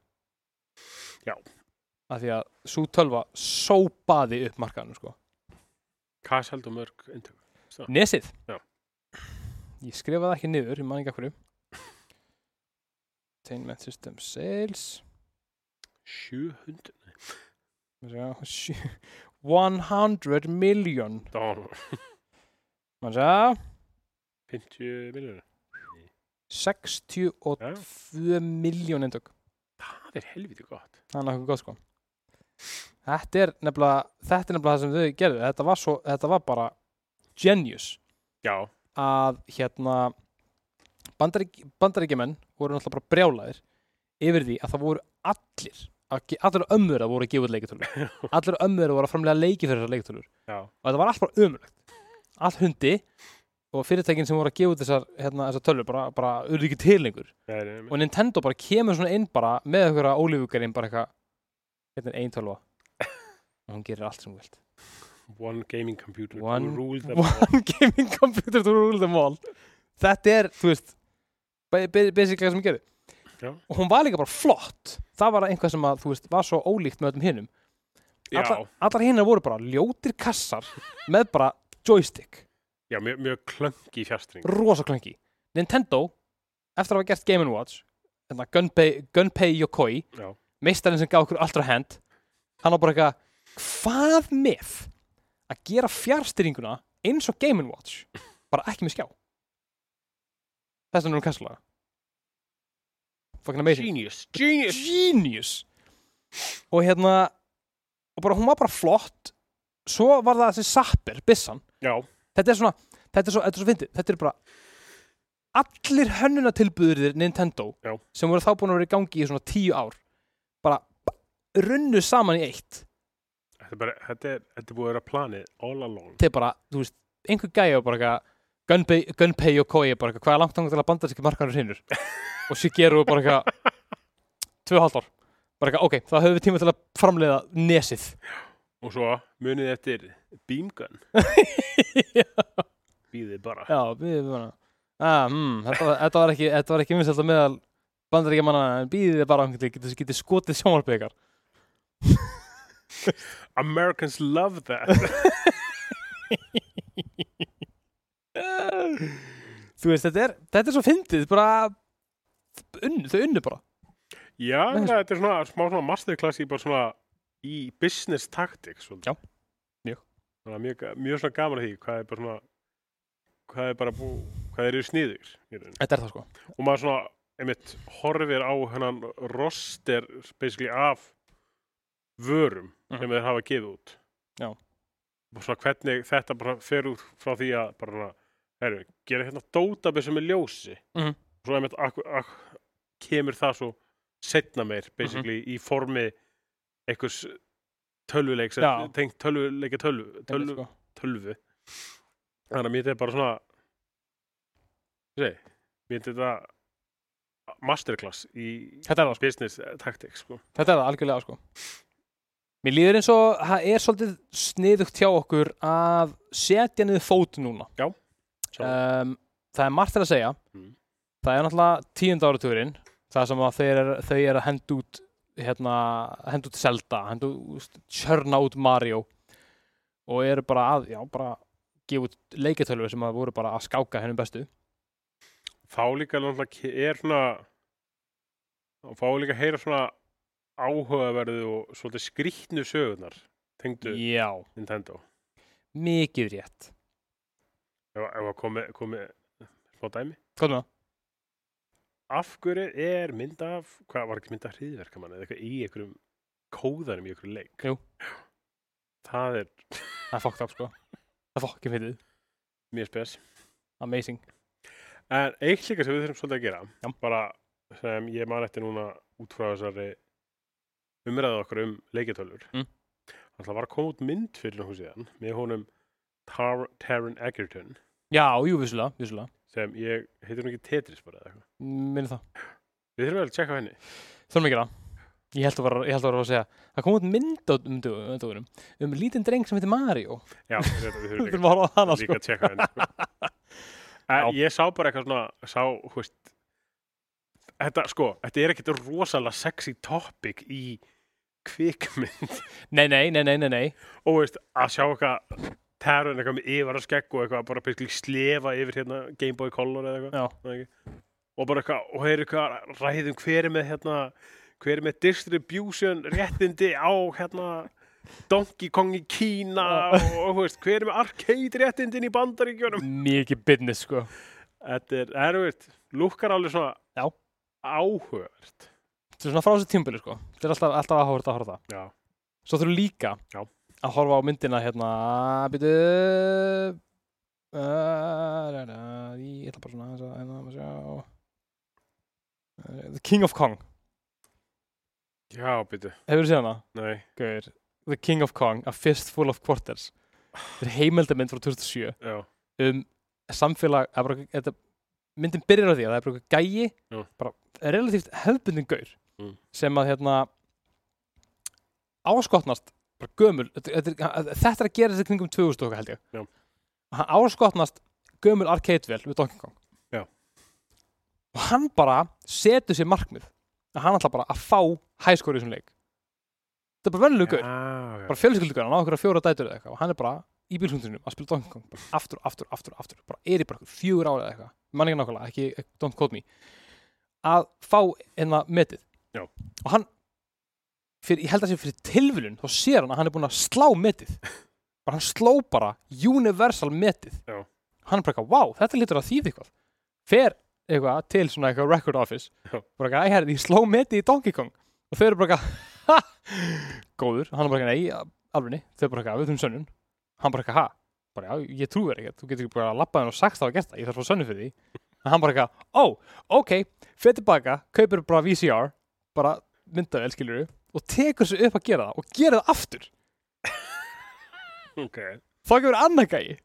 S2: Já.
S1: af því að svo tölva sópaði upp markaðanum sko
S2: Hvað seldu mörg eintök?
S1: Nesið
S2: Já.
S1: Ég skrifaði það ekki niður, ég man ekki að hverju Entertainment System Sales
S2: 700
S1: Má sjá, sjö- 100 million
S2: dólar,
S1: Man segja
S2: 50 miljonir
S1: 62 miljón eintök
S2: Það er helviti gott
S1: Það er nokkuð gott sko Þetta er nefnilega þetta er nefnilega það sem þau gerðu þetta var, svo, þetta var bara genius
S2: Já,
S1: að hérna bandarík, bandaríkjumenn voru náttúrulega bara brjálaðir yfir því að það voru allir að ge- allir ömmur að voru að gefa út leikitölur allir ömmur að voru að framlega leiki fyrir þessar leikitölur
S2: já,
S1: og þetta var allt bara ömulegt allt hundi og fyrirtækin sem voru að gefa út þessar, hérna, þessar tölur bara, bara urðu ekki til lengur
S2: það er einmitt
S1: og Nintendo bara kemur svona inn bara með okkur að ólífugarinn bara eitthvað hérna er ein tölva og hún gerir allt sem hún vilt
S2: One gaming computer
S1: One-
S2: to rule them all.
S1: One gaming computer to rule them all Þetta er, þú veist ba- ba- basically það sem ég gerði
S2: Já.
S1: og hún var líka bara flott það var einhvað sem að, þú veist, var svo ólíkt með öllum hinnum
S2: Já,
S1: allar, allar hinnar voru bara ljótir kassar með bara joystick
S2: já mjög, mjög klöngi fjárstring
S1: rosa klöngi Nintendo, eftir að hafa gert Game Watch hérna, Gunpei, Gunpei Yokoi
S2: Já.
S1: meistarinn sem gaf okkur allra hand hann á bara eitthvað hvað með að gera fjárstyringuna eins og Game Watch bara ekki með skjá þess að hún kassalaga fucking amazing
S2: Genius, genius
S1: genius og hérna og bara, hún var bara flott svo var það þessi sapper, byssan
S2: Já,
S1: þetta er svona þetta er svo, þetta er svo fyndið, þetta er bara allir hönnunatilbyðurir Nintendo
S2: Já.
S1: sem voru þá búin að vera í gangi í svona tíu ár bara runnu saman í eitt
S2: þetta er, bara, þetta er, þetta er búið að vera planið all along
S1: til bara, þú veist, einhver gæja og bara eitthvað Gunpei, Gunpei og Koi bara eitthvað, hvað er langt þangar til að banda sig markanur hinnur og Shigeru bara eitthvað tvö og hálft ár bara eitthvað, ok, þá höfum við tíma til að framleiða nesið
S2: Og svo munið eftir Beamgun
S1: Já.
S2: Býðið bara
S1: Já, við erum bara ah, mm, þetta, var- þetta var ekki, þetta var ekki vinsælt að meðal bandaríkja manna en býðið þið bara angli, getið geti skotið sjónvarpið ykkar
S2: Americans love that
S1: Þú veist, þetta er, þetta er svo fyndið bara unnu, þau unnu bara
S2: Já,
S1: Nei, sko.
S2: þetta er svona smá svona masterclass í bara svona í business tactics svolítið.
S1: Já, mjög.
S2: Svona mjög, ga- mjög svona gaman að því hvað er bara svona hvað er bara bú, hvað eru sniður
S1: Þetta er það sko
S2: og maður svona einmitt horfir á hennan roster basically af vörum
S1: Mhm.
S2: sem þeir hafa gefið út
S1: Já.
S2: og svona hvernig þetta bara fer út frá því að bara svona, heru, gera hérna dótabið sem er ljósi
S1: Mhm.
S2: svo einmitt ak, ak, kemur það svo setna meir
S1: Mhm.
S2: basically í formi einhvers tölvuleiks
S1: Já.
S2: tengt tölvuleika tölvu,
S1: Tölv...
S2: tölvu, tölvu þannig að mér þetta er bara svona segi, mér þetta masterclass í
S1: Þetta er það sko
S2: business tactics sko.
S1: Þetta er það algjörlega sko Mér líður eins og það er svolítið sniðugt hjá okkur að setja niður fót núna
S2: Já, sjálfsagt.
S1: um, Það er margt til að segja
S2: Mm.
S1: Það er náttúrulega tíund áratugurinn það sem að þau eru þau er að henda út hérna, henda út Zelda henda út, tjörna út Mario og eru bara að já, bara gefa út leiketölvi sem að voru bara að skáka hennum bestu
S2: þá líka náttúrulega ke- er svona þá fá líka að heyra svona áhugaverðu og svolítið skrýtnu sögurnar tengdu
S1: Já,
S2: Nintendo
S1: mikið rétt
S2: ef, ef að komi, komi smá dæmi
S1: Hvað með það?
S2: af hverju er mynd af hvað var ekki mynd af hriðverkamann eða eitthvað í einhverjum kóðanum í einhverjum leik
S1: Jú.
S2: það er
S1: Það er fokkt af sko Það er fokkin fyrir
S2: mjög spes
S1: Amazing
S2: en eitt líka sem við þurfum svolítið að gera
S1: Já.
S2: bara sem ég man eftir núna út frá þessari umræðu okkur um leikjatölur
S1: Mm.
S2: það var að koma út mynd fyrir nokkuð síðan með honum Tar Taron Egerton
S1: Já, jú, vissulega, vissulega
S2: sem ég heitir hún ekki Tetris bara eða eitthvað
S1: Minni það
S2: við þurfum vel að tjekka á henni
S1: Þurfum ekki það Ég held að vera, ég held að, vera að segja Það kom út mynd á um, dögum- um, dögunum um lítinn dreng sem heitir Mario
S2: já, þetta, við
S1: Þú
S2: þurfum
S1: þurfum að horfa á hana
S2: líka,
S1: sko
S2: líka að tjekka á henni sko. en ég sá bara eitthvað svona sá, hú veist þetta sko, þetta er ekkert rosalega sexy topic í kvikmynd
S1: Nei, nei, nei, nei, nei, nei
S2: og veist, að sjá eitthvað terun eitthvað með yfir að skegg og eitthvað bara basically slefa yfir hérna Game Boy Color eða eitthvað
S1: Já.
S2: það ekki? og bara eitthvað, og þeir eitthvað ræðum hver er með hérna hver er með distribution réttindi á hérna Donkey Kong í Kína og, og þú veist, hver er með arcade réttindin í bandaríkjunum
S1: Mikið business sko
S2: þetta er, er, þú veist, lukkar alveg svona
S1: Já.
S2: áhugavert
S1: Þetta er svona frá þessu tímbili sko Þetta er alltaf, alltaf að horfa að horfa á það
S2: já,
S1: Svo þurfum líka
S2: Já.
S1: að horfa á myndina hérna Býtu Uh, da, da, ég ætla bara svona aðeins að hérna, maður sjá Uh, The King of Kong
S2: já, byrju,
S1: Hefur þú séð hana?
S2: nei
S1: Gauður, The King of Kong, A Fistful of Quarters Þetta er heimildamind frá 2007
S2: já,
S1: um samfélag það er bara- þetta, myndin byrjar á því að það er bara einhver gæi
S2: Já.
S1: bara relatíft hefðbundin gaur
S2: Mm.
S1: sem að hérna áskotnast bara gömul þetta þetta er þetta er að gera þessi kringum 2000 okkar held ég
S2: Já.
S1: og hann áskotnast gömul arcade-vel við Donkey Kong
S2: Já.
S1: og hann bara setur sér markmið að hann ætla bara að fá hæskóri í þessum leik þetta er bara vennlugur
S2: Já, já.
S1: bara fjölskyldugur, hann á okkur fjóra dætur eða eitthvað og hann er bara í bílsundinum að spila Donkey Kong bara aftur, aftur, aftur, aftur, bara er í bara einhver fjögur ára eða eitthvað, mann ekki nákvæmlega, ekki ekki- don't quote me að fá hérna metið
S2: Já.
S1: og hann fyrir, ég held að sé fyrir tilvílun þá sér hann að hann er búin að slá metið bara hann sló bara universal metið
S2: Já.
S1: hann er bara eitthvað, wow, þetta lítur að þýði eitthvað fer eitthvað til svona eitthvað record office
S2: Já.
S1: bara eitthvað, æ, herri, ég sló metið í Donkey Kong og þau eru bara eitthvað, ha, góður hann er bara eitthvað, nei, ja, alvegni þau bara eitthvað, við þum sönnun hann bara eitthvað, ha, bara já, ég trú þér ekkert þú getur ekki bara að lappa þenn og sagt það og gert það ég þarf að fá sönnun fyrir því en hann bara eitthvað, ó, ok, fyrir tilbaka kaupir bara VCR, bara myndavel skilur og tekur sér upp að gera það og gera það aftur
S2: ok.
S1: þá kemur annar gæi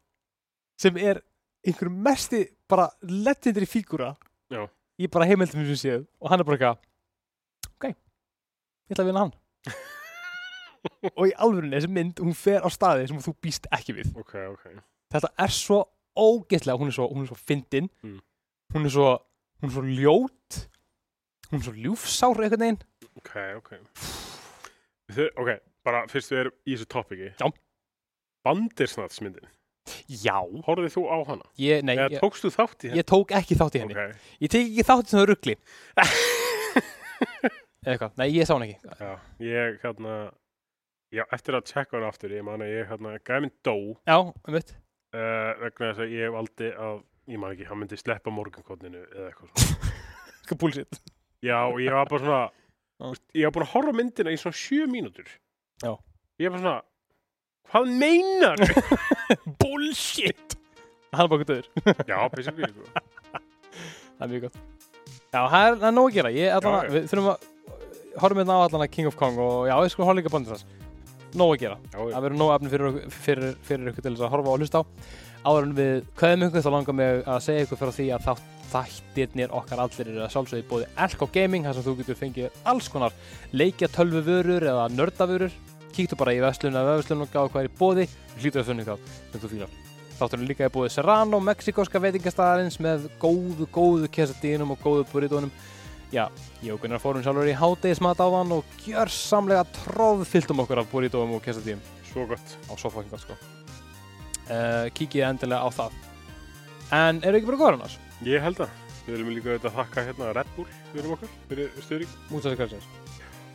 S1: sem er einhver mesti bara legendary fígúra
S2: Já.
S1: í bara heimildum sem séð og hann er bara eitthvað ok, ég ætla að vinna hann og í alvörunni þessi mynd hún fer á staði sem þú býst ekki við
S2: Ok, ok.
S1: þetta er svo ógeðlega hún er svo, hún er svo fyndin
S2: Mm.
S1: hún er svo hún er svo ljót hún er svo ljúfsár einhvern veginn
S2: Ok, ok. Þau, ok, bara fyrst við erum í þessu topiki.
S1: Já.
S2: Bandirsnatsmyndin,
S1: já,
S2: horfið þú á hana?
S1: ég, nei,
S2: Eða
S1: ég,
S2: tókst þú þátt í henni?
S1: ég tók ekki þátt í henni
S2: Ok,
S1: ég tek ekki þátt í þessu ruggli eða eitthvað, nei ég sá hann ekki
S2: já, ég hérna, já, eftir að tjekka hana aftur, ég man að ég hérna, gæminn dó uh,
S1: já, um veit
S2: vegna þess að ég valdi að, ég man ekki, hann myndi sleppa morgunkotninu eða eitthvað svona.
S1: Hvað búlsitt?
S2: Já, og ég var bara svona,
S1: Já.
S2: þú veist, ég var búin að horfa á myndina í svona sjö mínútur.
S1: Já.
S2: Ég var bara svona, hvað meinar þú?
S1: Búlsitt! Hann er bara guttuður.
S2: já, basically, sko.
S1: Það er mjög gott. Já, það er, það er nóg að gera. Ég, allan,
S2: Já, já.
S1: við þurfum að horfum hérna á allan að King of Kong og já, ég sko horfa líka bóndið þess. Nóg að gera.
S2: Já, já.
S1: Það verður nóg efni fyrir, okkur- fyrir, fyrir ykkur til þess að horfa og hlusta á. Áður en við kveðum ykkur þá langar mig að segja ykkur fyrir því að þá þættirnir okkar allir eru að sjálfsögði bóði Elko Gaming þar sem þú getur fengið alls konar leikja tölvuvörur eða nördavörur kíktu bara í veslun eða veslun og gáðu hvað er í bóði hlýtur að finna eitthvað sem þú fílar Þátturinn er líka er búið Serrano, mexikoska veitingastæðarins með góðu, góðu kesadínum og góðu burritónum. Já, ég og Gunnar fórum sjálfur í hátegismat á hann og gjörsamlega tróðfylltum okkur af burritónum og kesadínum
S2: Svo gott.
S1: á sofákinga, sko. Uh, kíkið endilega á það. En eru ekki bara góður annars?
S2: Ég held að. Við viljum líka auðvitað þakka hérna Red Bull fyrir okkar, fyrir stuðning.
S1: Mútið þessi kvöldsins.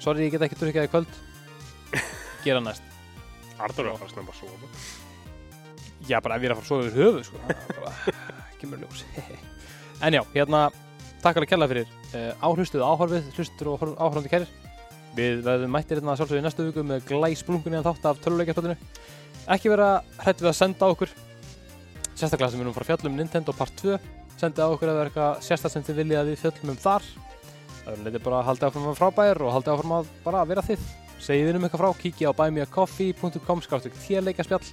S1: Sorry, ég get ekki drukkið það í kvöld. Gera næst.
S2: Arnar er að fara snemma að sofa.
S1: Já, bara ef ég er að fara að sofa yfir höfuð, sko. Það er bara- Kemur ljós. en já, hérna, takk alveg kærlega fyrir uh, áhlustið og áhorfið, hlustur og horf- áhorfandi kærir. Við verðum mættir hérna sjálfsögðu í næstu viku með glæsblungunni að þátt af töluleikjarspöldinu. Ekki vera hrætt við að senda á okkur, sérstaklega sem við erum að fara að fjalla um Nintendo Part 2. Senda á okkur ef það er eitthvað sérstaklega sem þið viljið að við fjallum um þar. Það verður leitið bara að halda áfram að frábæðir og halda áfram að bara vera þið. Segið vinum eitthvað frá, kíkja á buymeacoffee.com skáttu þérleikaspjall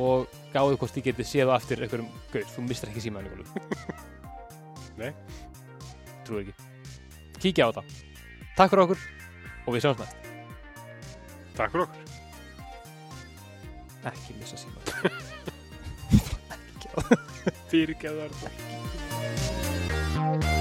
S1: og gáðu hvort þið getið séð á eftir einhverjum gaur, þú mistar ekki símaðan í gólf
S2: Nei.
S1: Trúið ekki Kíkja á þetta Takk fyrir okkur og við sjáumst næst
S2: Takk fyrir okkur.
S1: Ekki missa símaðan
S2: Fyrirgeðu Arnar.